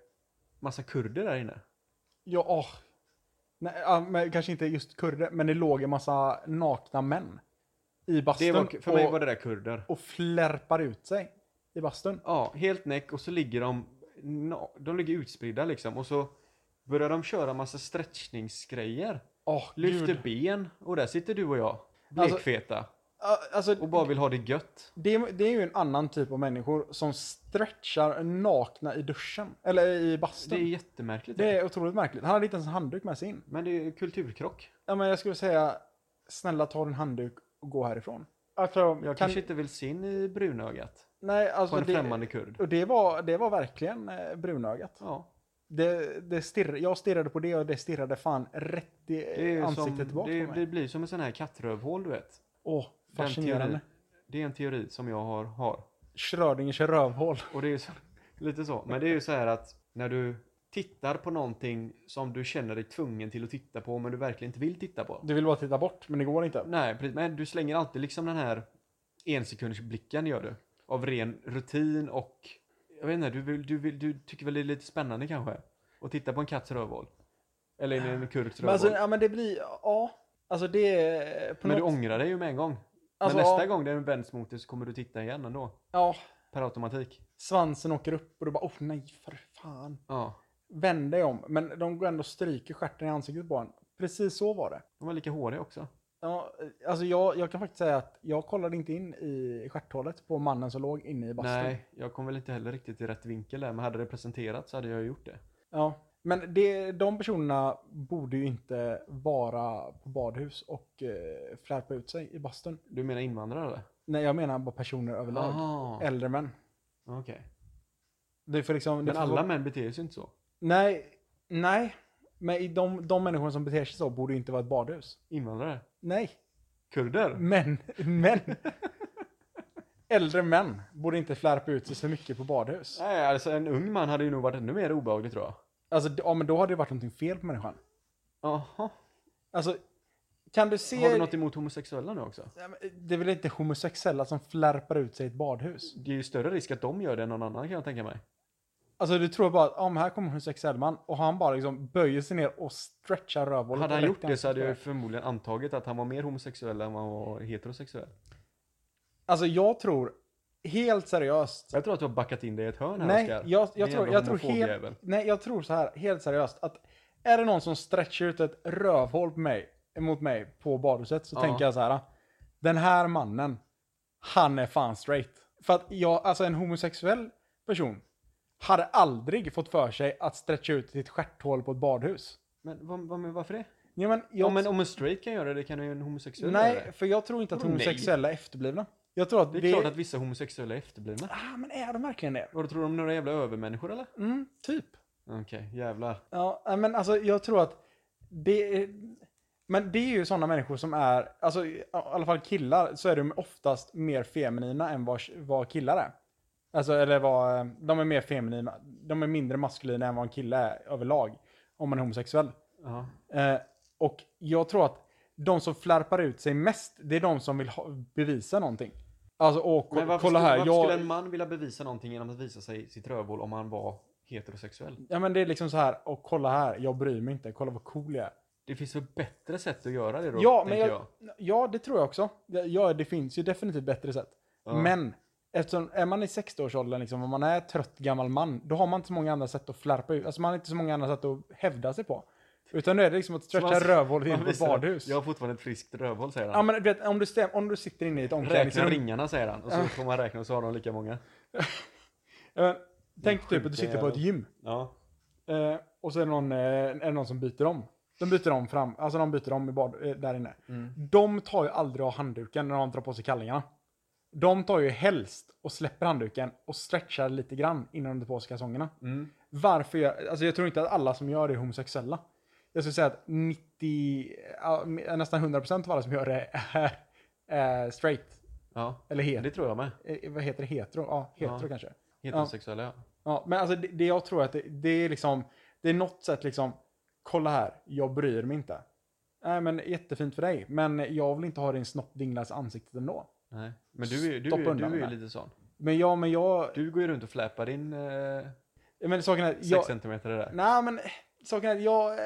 massa kurder där inne.
Ja, åh. Nej, ja, men kanske inte just kurder, men det låg en massa nakna män i bastun.
Det var, för mig
och,
var det där kurder.
och flärpar ut sig i bastun.
Ja, helt näck och så ligger de, na- de ligger utspridda liksom och så börjar de köra massa stretchningsgrejer.
Åh,
Lyfter
gud.
ben och där sitter du och jag,
Alltså-
blekfeta,
Ja, Alltså,
och bara vill ha det gött.
det, det är ju en annan typ av människor som stretchar nakna i duschen. Eller i
Det
bastun.
är
Det är,
jättemärkligt.
otroligt märkligt. Han hade inte ens en handduk med sig in.
Men det är kulturkrock.
Ja, men jag skulle säga, snälla ta din handduk och gå härifrån. Alltså, jag
Jag kanske inte vill se in i brunögat
nej,
på
alltså
en
det,
främmande kurd.
och det var, det var verkligen eh, brunögat.
Ja,
Det, det stirr, jag stirrade på det och det stirrade fan rätt i
det, är som,
ansiktet tillbaka
det,
på
det
mig.
blir som en sån här kattrövhål du vet.
Åh,
Den teorin,
fascinerande.
det är en teori som jag har. har.
Schrödingers rövhål.
Och det är ju så, [LAUGHS] lite så. Men det är ju så här att när du tittar på någonting som du känner dig tvungen till att titta på men du verkligen inte vill titta på.
Du vill bara titta bort, men det går inte.
Nej, precis. Men du slänger alltid liksom den här ensekundersblicken gör du. Av ren rutin och jag vet inte, du, vill, du, vill, du tycker väl det är lite spännande kanske? Att titta på en katts rövhål. Eller en kurds
Men,
rövhål.
alltså,
Men,
ja, men det blir, ja. Alltså det är... på
du
något-
ångrar dig ju med en gång.
alltså,
men nästa
ja,
gång den vänds mot dig så kommer du titta igen ändå.
Ja,
Per automatik.
svansen åker upp och du bara, åh nej, för fan.
Ja.
Vänd dig om, men de går ändå och stryker stjärten i ansiktet på en. Precis så var det.
De var lika håriga också.
Ja, alltså jag, jag kan faktiskt säga att jag kollade inte in i stjärthålet på mannen som låg inne i bastun.
Nej, jag kom väl inte heller riktigt i rätt vinkel där. Men hade det presenterats så hade jag gjort det.
Ja, men det, de personerna borde ju inte vara på badhus och eh, flärpa ut sig i bastun.
Du menar invandrare eller?
Nej, jag menar bara personer överlag.
Aha,
Äldre män.
okej.
Det får liksom, det
Men
får
alla
vara-
män beter sig inte så.
Nej, nej. Men i de, de människor som beter sig så borde ju inte vara ett badhus.
Invandrare?
Nej,
Kurder?
men,
[LAUGHS]
men. Äldre män borde inte flärpa ut sig så mycket på badhus.
Nej, alltså en ung man hade ju nog varit ännu mer obehaglig tror jag.
Alltså, d- ja, men då hade det varit någonting fel på människan.
Jaha.
Alltså, kan du se...
Har du något emot homosexuella nu också?
Nej, men Det är väl inte homosexuella som flärpar ut sig i ett badhus?
Det är ju större risk att de gör det än någon annan kan jag tänka mig.
Alltså du tror bara att om här kommer en homosexuell man och han bara liksom böjer sig ner och stretchar rövhålet.
Hade han
direkt
gjort
i
det så hade jag
ansiktet.
förmodligen antagit att han var mer homosexuell än vad han var heterosexuell.
Alltså jag tror, helt seriöst.
Jag tror att du har backat in dig i ett hörn här
Nej,
Oskar.
jag,
Din
jag, tror,
jävla
jag, tror
homofob
helt,
jävel.
nej, jag tror så här, helt seriöst. att Är det någon som stretchar ut ett rövhål på mig, mot mig på badhuset så
Ja.
tänker jag så här. Den här mannen, han är fan straight. För att jag, alltså en homosexuell person hade aldrig fått för sig att stretcha ut sitt stjärthål på ett badhus.
Men, vad, vad, men varför det?
Ja, men jag,
Ja, men om en straight kan göra det kan ju en homosexuell göra
nej,
det.
för jag tror inte att
Vadå nej?
homosexuella är efterblivna. Jag tror att
Det är klart att vissa homosexuella är efterblivna.
Ah, men är de verkligen det?
Vad tror du om några jävla övermänniskor eller?
Mm, typ.
Okej, jävlar.
Ja, nej, men alltså jag tror att det är, Men det är ju sådana människor som är, alltså i alla fall killar, så är de oftast mer feminina än vad, vad killar är. Alltså, eller vad, de är mer feminina, de är mindre maskulina än vad en kille är överlag, om man är homosexuell.
Ja.
Eh, och jag tror att de som flärpar ut sig mest, det är de som vill ha, bevisa någonting. Alltså, åh,
Men
ko-
varför,
kolla
skulle,
här,
varför
jag...
skulle en man vilja bevisa någonting genom att visa sig sitt rövhål om han var heterosexuell?
Ja, men det är liksom så här, och kolla här, jag bryr mig inte, kolla vad cool jag är.
Det finns väl bättre sätt att göra det då,
Ja, men
tänker
jag,
jag.
ja, det tror jag också. Det- Ja, det finns ju definitivt bättre sätt.
Ja.
Men eftersom är man i 60-årsåldern liksom, och man är trött gammal man, då har man inte så många andra sätt att flärpa ut. Alltså man har inte så många andra sätt att hävda sig på. Utan nu är det liksom att
Så
stretcha
man-
rövhålet
man
in på ett
visar-
badhus.
Jag har fortfarande ett friskt rövhål, säger han.
Ja, men du vet, om du, stäm, om du sitter inne i ett
Räkna
omklädningsrum.
ringarna, säger han. Och så får man räkna och så har de lika många.
Eh, tänk typ
sjuka
att du sitter på ett
jävel.
gym.
Ja.
Eh, och så är det, någon, eh, är det någon som byter om. De byter om fram, alltså de byter om i bad, eh, där inne. De tar ju aldrig av handduken när de drar på sig kallingarna. De tar ju helst och släpper handduken och stretchar lite grann innan de tar på sig kalsongerna. Varför jag, alltså jag tror inte att alla som gör det är homosexuella. Jag skulle säga att 90, ja, eh, nästan 100% av alla som gör det är, är straight.
Ja,
Eller het,
det tror jag med.
eh, vad heter det? Hetero? Ja, hetero
Ja.
kanske.
Heterosexuella, ja.
Ja, men alltså det, det jag tror att det, det är liksom, det är något sätt liksom, kolla här, jag bryr mig inte. Nej men jättefint för dig, men jag vill inte ha din snopp dinglas i ansiktet ändå.
Nej. Men du är, du,
Stoppa
är,
undan
du är
den
ju
här.
lite sån.
Men ja, men jag,
Du går ju runt och fläpar in eh,
men saken är, att
sex
jag,
centimeter där.
nej men saken är, att jag, eh,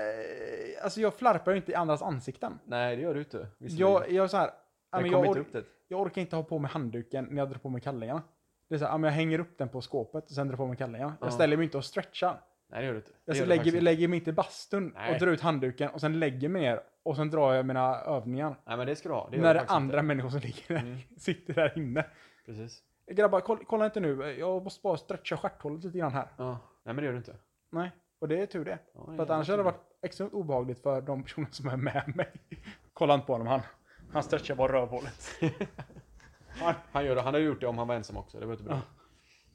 alltså jag flärpar ju inte i andras ansikten.
Nej, det gör du inte. visserligen.
Jag, jag är så här, ja,
Men
men
kom
jag,
inte
or-
upp det.
jag orkar inte ha på mig handduken när jag drar på mig kallingarna. Det är så här, ja, men jag hänger upp den på skåpet och sen drar på mig kallingarna.
Ja.
Jag ställer mig inte och stretchar.
Nej, det gör du inte. Det
Jag
gör du
alltså, lägger,
faktiskt inte.
lägger mig inte i bastun
Nej.
och drar ut handduken och sen lägger mig ner och sen drar jag mina övningar.
Nej, men det ska du ha. Det gör
när
du
det
faktiskt
andra
Inte.
människor som ligger där,
Mm.
[LAUGHS] sitter där inne.
Precis.
Grabbar, koll, kolla inte nu. Jag måste bara stretcha stjärthålet lite grann här.
Ja. Nej, men det gör du inte.
Nej, och det är tur det.
Ja, det
för
är
att annars hade det
jävla
varit extremt obehagligt för de personer som är med mig. [LAUGHS] kolla inte på honom han. Han stretchar bara rövhålet. [LAUGHS] Han,
Han, gör det. han hade gjort det om han var ensam också. Det var inte bra.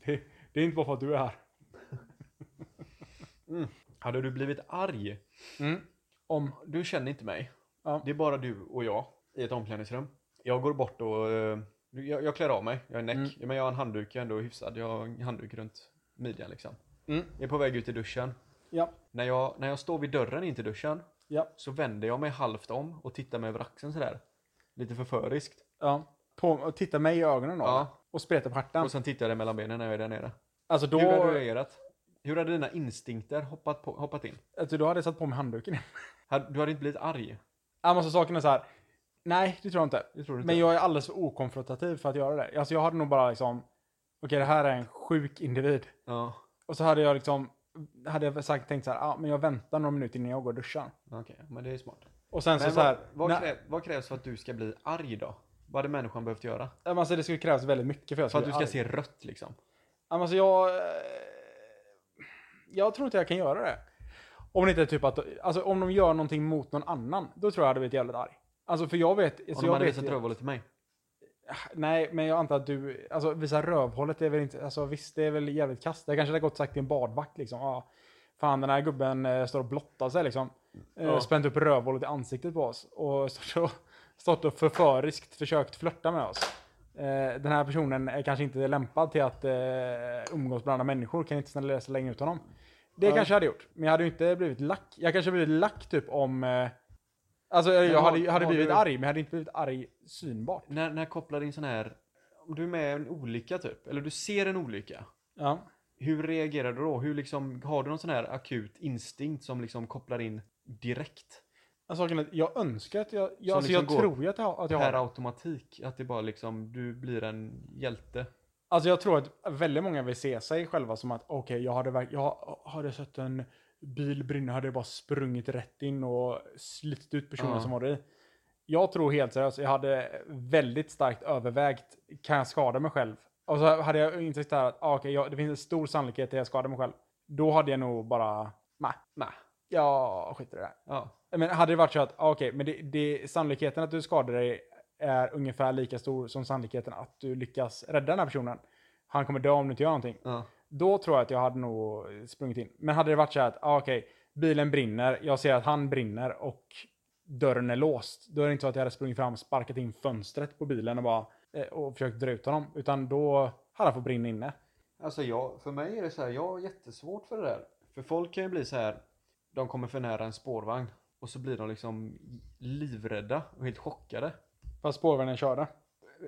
det, det är inte bara för att du är här.
Hade du blivit arg? Mm.
Om,
Du känner inte mig.
Ja.
Det är bara du och jag i ett omklädningsrum. Jag går bort och eh, jag, jag klär av mig. Jag är näck.
Mm.
Ja, Men jag har en handduk. Jag är ändå hyfsad. Jag har en handduk runt midjan liksom.
Mm.
Jag är på väg ut i duschen.
ja,
När jag, när jag står vid dörren in till duschen
ja,
så vänder jag mig halvt om och tittar mig över axeln sådär. Lite förföriskt.
ja. På, och titta mig i ögonen då.
Ja.
Och spreta på stjärten.
Och sen tittar jag dig mellan benen när jag är där nere.
Alltså då...
Hur hade du reagerat? Hur hade dina instinkter hoppat, på, hoppat in?
Alltså, då hade jag satt på mig handduken.
Hade- Du hade inte blivit arg?
Ja, men så saken är så här. Nej, det tror jag inte.
Det tror du inte?
Men jag är alldeles för okonfrontativ för att göra det. Alltså jag hade nog bara liksom, okej det här är en sjuk individ.
Ja,
Och så hade jag liksom, hade jag sagt, tänkt så här, ah, men jag väntar några minuter innan jag går och duschar.
okej. Men det är smart.
Och sen så,
Men
så här,
vad, vad,
nej,
krä, vad krävs för att du ska bli arg då? Vad hade människan behövt göra?
men alltså det skulle krävas väldigt mycket för att jag
För att du ska
bli arg.
se rött liksom?
Ja, men Alltså jag, eh, jag tror inte jag kan göra det. Om det inte är typ att, alltså om de gör någonting mot någon annan, då tror jag jag hade blivit jävligt arg. Alltså för jag vet, alltså
Om de
jag
hade
vet
visat
ju-
rövhålet till mig?
Nej, men jag antar att du, alltså visa rövhålet det är väl inte, alltså visst det är väl jävligt kasst. Det kanske hade gått sagt till en badvakt liksom. Ja, fan den här gubben eh, står och blottar sig liksom. Eh,
Ja.
Spänt upp rövhålet i ansiktet på oss och stått och, stått och förföriskt försökt flörta med oss. Eh, den här personen är kanske inte lämpad till att eh, umgås bland andra människor. Kan inte snälla läsa länge ut honom. Det
Ja.
kanske jag hade gjort, men jag hade ju inte blivit lack. Jag kanske hade blivit lack typ om... Eh, alltså jag,
har-
hade, jag hade
har
blivit
du-
arg, men jag hade inte blivit arg synbart.
När, när kopplar din sån här... Om du är med i en olycka typ, eller du ser en olycka.
Ja.
Hur reagerar du då? Hur liksom, har du någon sån här akut instinkt som liksom kopplar in direkt?
Alltså, saken är att jag önskar att jag... jag
Som
alltså
liksom
jag
går
tror ju att jag, att jag har
Per
det.
automatik? Att det bara liksom, du blir en hjälte?
Alltså jag tror att väldigt många vill se sig själva som att okej, jag hade verk- jag hade sett en bil brinna hade jag bara sprungit rätt in och slitit ut personen
Ja.
som var i. Jag tror helt seriöst, jag hade väldigt starkt övervägt, kan jag skada mig själv? Och så hade jag insett här att ah, okej, jag- det finns en stor sannolikhet att jag skadar mig själv. Då hade jag nog bara, nej,
Nej.
jag skiter i det här.
Ja.
Men hade det varit så att, ah, okej, men det, det, sannolikheten att du skadar dig är ungefär lika stor som sannolikheten att du lyckas rädda den här personen. Han kommer dö om du inte gör någonting.
ja.
Då tror jag att jag hade nog sprungit in. Men hade det varit så här att, ah, okej, bilen brinner, jag ser att han brinner och dörren är låst. Då är det inte så att jag hade sprungit fram, sparkat in fönstret på bilen och bara eh, och försökt dra ut honom. Utan då hade han fått brinna inne.
Alltså jag, för mig är det så här, jag har jättesvårt för det där. För folk kan ju bli så här, de kommer för nära en spårvagn och så blir de liksom livrädda och helt chockade.
Fast spårvagnen körde.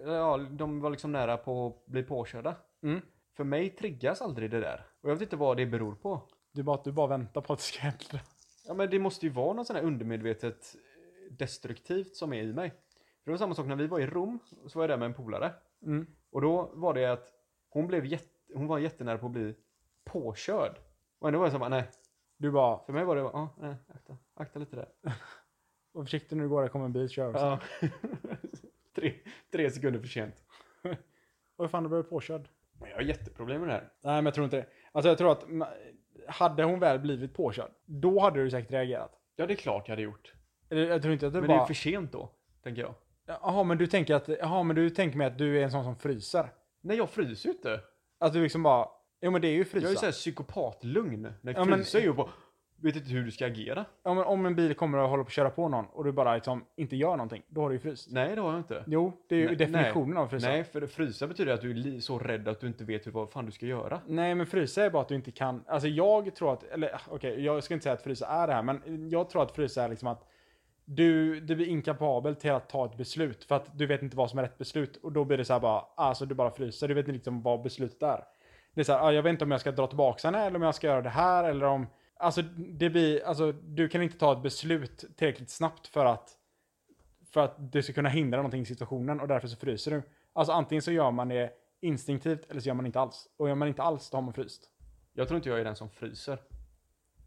Ja, de var liksom nära på att bli påkörda.
Mm.
För mig triggas aldrig det där. Och jag vet inte vad det beror på.
Du bara, du bara väntar på att det ska hända.
Ja men det måste ju vara något sån här undermedvetet destruktivt som är i mig. För det var samma sak när vi var i Rom, så var jag där med en polare.
Mm.
Och då var det att hon, blev jätte, hon var jättenära på att bli påkörd. Och ändå var jag så här, nej,
Du bara,
För mig var det bara, ja, nej, akta, akta lite där.
var försiktig när du går, det kommer en bil, kör.
Ja. [LAUGHS] tre, tre sekunder för sent.
Oj fan, du blev påkörd.
Men jag har jätteproblem med det här.
Nej, men jag tror inte det. Alltså jag tror att ma- hade hon väl blivit påkörd, då hade du säkert reagerat.
Ja, det är klart jag hade gjort.
Eller jag tror inte att du
Men det är
bara...
ju för sent då, tänker jag.
Jaha, men du tänker att, jaha, men du tänker mig att du är en sån som fryser?
Nej, jag fryser ju inte.
Att du liksom bara, jo men det är ju
Jag är ju
frysa.
såhär psykopatlugn. När
Ja,
jag
men-
fryser är ju bara, vet inte hur du ska agera.
Ja, men om en bil kommer och håller på att köra på någon och du bara liksom inte gör någonting, då har du ju fryst.
Nej, det har jag inte.
Jo, det är ju
Nej,
definitionen av frysa. Nej.
Nej, för frysa betyder att du är li- så rädd att du inte vet hur, vad fan du ska göra.
men frysa är bara att du inte kan, alltså jag tror att, eller ah, okej, jag ska inte säga att frysa är det här, men jag tror att frysa är liksom att du, du blir inkapabel till att ta ett beslut för att du vet inte vad som är rätt beslut och då blir det så här bara, alltså du bara fryser, du vet inte liksom vad beslutet är. Det är så här, ah, jag vet inte om jag ska dra tillbaka henne eller om jag ska göra det här eller om, alltså det blir, alltså du kan inte ta ett beslut tillräckligt snabbt för att för att du ska kunna hindra någonting i situationen och därför så fryser du. Alltså antingen så gör man det instinktivt eller så gör man inte alls. Och gör man inte alls då har man fryst.
Jag tror inte jag är den som fryser.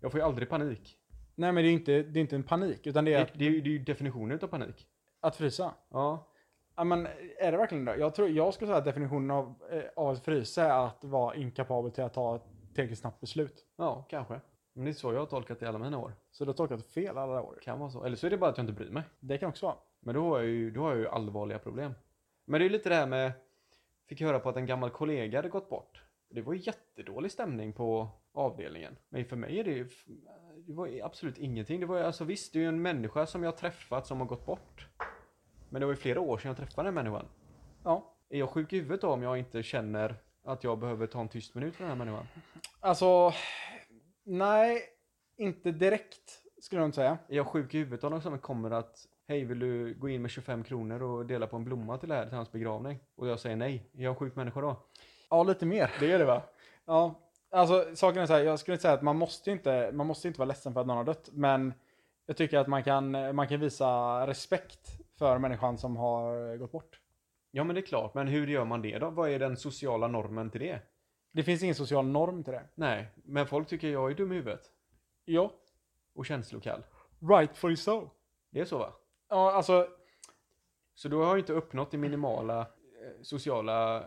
Jag får ju aldrig panik.
Nej men det är ju inte, det är inte en panik utan det är
Det,
att,
det, är ju- det är ju definitionen av panik.
att frysa.
Ja.
Ja, men är det verkligen det? Jag, tror, jag skulle säga att definitionen av, eh, av att frysa är att vara inkapabel till att ta ett tillräckligt snabbt beslut.
Ja, kanske. Men det är så jag har tolkat det i alla mina år.
Så du har tolkat fel alla år.
Kan vara så. Eller så är det bara att jag inte bryr mig.
Det kan också vara.
Men då har jag ju, då har jag ju allvarliga problem. Men det är ju lite det här med... Fick höra på att en gammal kollega hade gått bort. Det var ju jättedålig stämning på avdelningen. Men för mig är det ju... f- Det var ju absolut ingenting. Det var ju, alltså visst, det är ju en människa som jag träffat som har gått bort. Men det var ju flera år sedan jag träffade den människan.
Ja.
Är jag sjuk i huvudet då om jag inte känner att jag behöver ta en tyst minut för den här människan?
Alltså, nej, inte direkt skulle jag inte säga.
Är jag sjuk i huvudet om någon som kommer att Hej, vill du gå in med 25 kronor och dela på en blomma till det här till hans begravning? Och jag säger nej. Är jag en sjuk människa då?
Ja, lite mer.
Det är det va?
[LAUGHS] Ja, alltså saken är så här, jag skulle inte säga att man måste ju inte, man måste inte vara ledsen för att någon har dött, men jag tycker att man kan, man kan visa respekt för människan som har gått bort.
Ja men det är klart, men hur gör man det då? Vad är den sociala normen till det?
Det finns ingen social norm till det.
Nej, men folk tycker jag är dum i huvudet.
Ja,
Och känslokall.
rightfully so.
Det är så va?
Ja, alltså,
Så då har jag inte uppnått den minimala eh, sociala eh,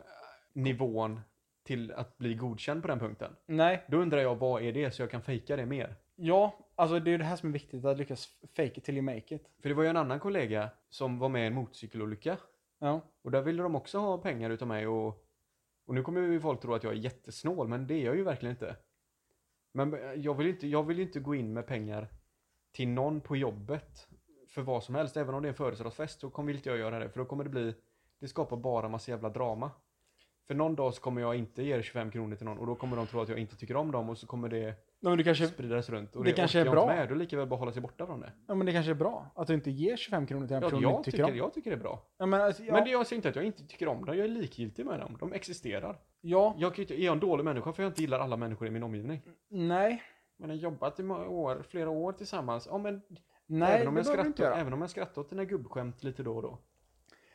nivån till att bli godkänd på den punkten.
nej,
Då undrar jag vad är det så jag kan fejka det mer?
ja, alltså det är ju det här som är viktigt, att lyckas fake it till you make it.
För det var ju en annan kollega som var med i en motorcykelolycka.
Ja,
Och där ville de också ha pengar utav mig och... Och nu kommer ju folk tro att jag är jättesnål, men det är jag ju verkligen inte. Men eh, jag vill ju inte, jag vill ju inte gå in med pengar till någon på jobbet för vad som helst. Även om det är en födelsedagsfest så kommer vill inte jag göra det, för då kommer det bli... Det skapar bara massa jävla drama. För någon dag så kommer jag inte ge 25 kronor till någon och då kommer de tro att jag inte tycker om dem och så kommer det
Nej, men det kanske,
spridas runt. Och
Det kanske är
orkar jag inte
bra.
Med. Då är det lika väl bara hålla sig borta från det.
ja, men det kanske är bra att du inte ger 25 kronor till en
Jag,
person
jag,
du inte tycker
tycker,
om.
jag tycker det är bra.
Ja, men alltså, ja,
Men det jag säger inte att jag inte tycker om dem, jag är likgiltig med dem. De existerar.
ja,
Jag kan ju inte, är jag en dålig människa för jag inte gillar alla människor i min omgivning?
nej,
Men har jobbat i många år, flera år tillsammans. Ja, men
nej,
även, om
det
jag
behöver du inte
skrattar,
göra.
även om jag skrattar åt dina gubbskämt lite då och då.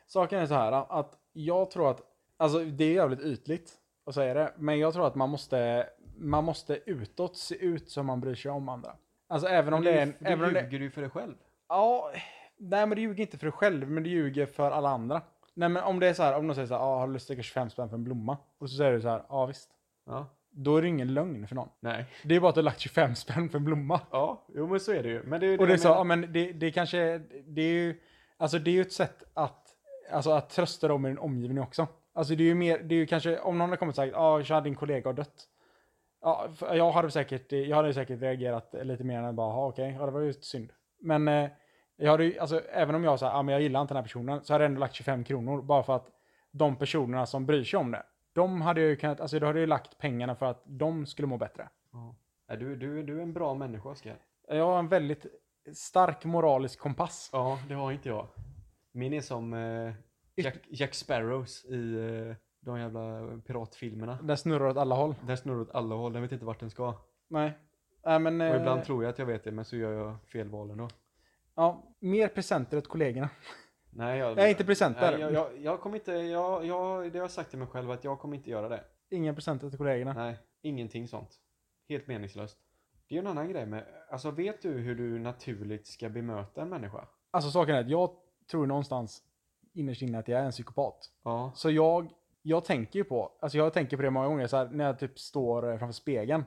Saken är så här att jag tror att, alltså det är jävligt ytligt att säga det, men jag tror att man måste, man måste utåt se ut som man bryr sig om andra. Alltså även om
Men
det är
du,
en,
du
även om det,
ljuger ju för dig själv.
ja, nej men du ljuger inte för dig själv, men du ljuger för alla andra. Nej men om det är så här, om någon säger så här, ah, har du lust att lägga 25 spänn för en blomma? Och så säger du så här, ja ah, visst.
Ja.
Då är det ingen lögn för någon.
Nej.
Det är bara att du har lagt 25 spänn för en blomma.
Ja, jo men så är det ju. Men det är ju
Och det är
jag
så,
menar.
ja men det, det kanske, är- det är ju, alltså det är ju ett sätt att, alltså att trösta dem i din omgivning också. Alltså det är ju mer, det är ju kanske, om någon har kommit och sagt, ja, jag hade din kollega har dött. Ja, för jag hade säkert, jag hade säkert reagerat lite mer än att bara, "Jaha, okej, ja det var ju synd. Men eh, jag hade ju, alltså även om jag sa, ja men jag gillar inte den här personen, så hade jag ändå lagt 25 kronor bara för att de personerna som bryr sig om det, de hade jag ju kunnat, alltså då hade jag ju lagt pengarna för att de skulle må bättre.
Ja. Nej, Du, du, du är en bra människa, Oskar.
Jag har en väldigt stark moralisk kompass.
Ja, det har inte jag. Min är som eh, Jack, Jack Sparrows i eh, de jävla piratfilmerna.
Den snurrar åt alla håll.
Den snurrar åt alla håll, den vet inte vart den ska.
Nej. Nej men,
Och
eh,
ibland tror jag att jag vet det, men så gör jag fel val ändå.
ja, mer presenter åt kollegorna.
Nej, jag,
Nej, inte presenter.
Nej, jag, jag, jag kommer inte, jag, jag, det har jag sagt till mig själv att jag kommer inte göra det.
Inga presenter till kollegorna.
Nej, ingenting sånt. Helt meningslöst. Det är ju en annan grej med, alltså vet du hur du naturligt ska bemöta en människa?
Alltså saken är att jag tror någonstans innerst inne att jag är en psykopat.
Ja.
Så jag, jag tänker ju på, alltså jag tänker på det många gånger så här, när jag typ står eh, framför spegeln.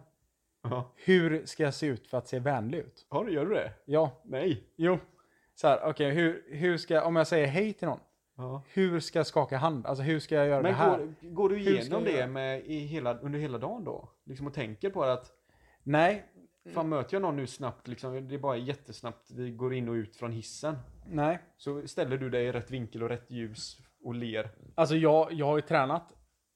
Hur ska jag se ut för att se vänlig ut?
Har du, gör du det?
Ja,
Nej.
jo. så här, okej, hur, hur ska, om jag säger hej till någon,
Ja.
hur ska jag skaka hand? Alltså hur ska jag göra
Men
det här?
går, går du
ska jag
igenom det
göra?
med, i hela, under hela dagen då? Liksom och tänker på att
Nej, Mm.
fan möter jag någon nu snabbt, liksom, det är bara jättesnabbt, vi går in och ut från hissen.
nej.
Så ställer du dig i rätt vinkel och rätt ljus och ler.
Alltså jag, jag har ju tränat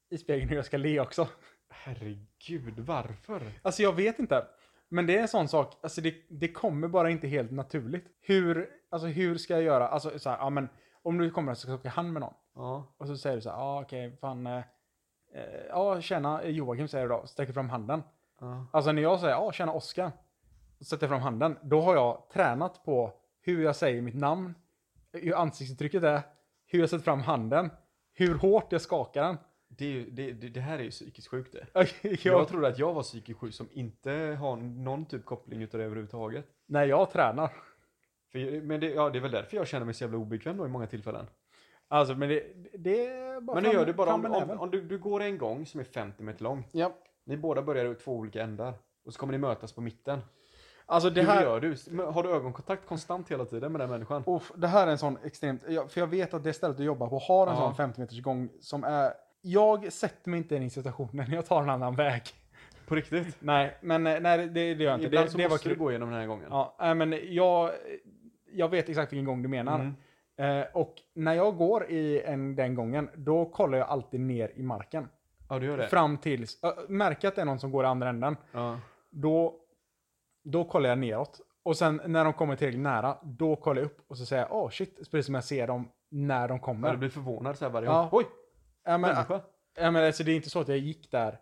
i spegeln hur jag ska le också.
Herregud, varför?
Alltså jag vet inte. Men det är en sån sak, alltså det, det kommer bara inte helt naturligt. Hur, alltså hur ska jag göra? Alltså så här, ja men om du kommer och ska skaka hand med någon
Ja.
och så säger du så här, ja ah, okej, fan, eh, eh, ja tjena eh, Joakim säger du då, sträcker fram handen.
ja.
Alltså när jag säger, ja tjena Oskar, och sätter fram handen, då har jag tränat på hur jag säger mitt namn, hur ansiktsuttrycket är, hur jag sätter fram handen, hur hårt jag skakar den. [LAUGHS]
Det, är ju- det, det, det här är ju psykiskt sjukt det.
Jag,
Jag trodde att jag var psykiskt sjuk som inte har någon typ koppling utav det överhuvudtaget.
när jag tränar.
För, men det, ja, det är väl därför jag känner mig så jävla obekväm då i många tillfällen.
Alltså men det, det är bara
Men nu
fram-
gör du bara
fram
om,
med
om,
näven.
om du, du går en gång som är 50 meter lång.
Ja.
Ni båda börjar i två olika ändar. Och så kommer ni mötas på mitten.
Alltså det
Hur
här,
gör du? Men Har du ögonkontakt konstant hela tiden med den människan?
Uff, det här är en sån extremt, jag- för jag vet att det stället du jobbar på har en
Ja.
sån 50 meters gång som är, jag sätter mig inte i den situationen, [LAUGHS] jag tar en annan väg.
På riktigt?
Nej, men eh, nej det, det gör jag inte.
Ibland
Det,
så
det var
måste du
kul.
gå igenom den här gången.
Ja, nej, men jag, jag vet exakt vilken gång du menar.
Mm.
Eh, och när jag går i en, den gången, då kollar jag alltid ner i marken.
ja, du gör det.
Fram tills, äh, märker att det är någon som går i andra änden,
Ja.
då, då kollar jag neråt. Och sen när de kommer tillräckligt nära, då kollar jag upp och så säger jag åh shit, precis som jag ser dem när de kommer.
Ja, du blir förvånad så här varje
Ja.
gång. Oj!
Ja, men,
människa!
ja, men, alltså, det är inte så att jag gick där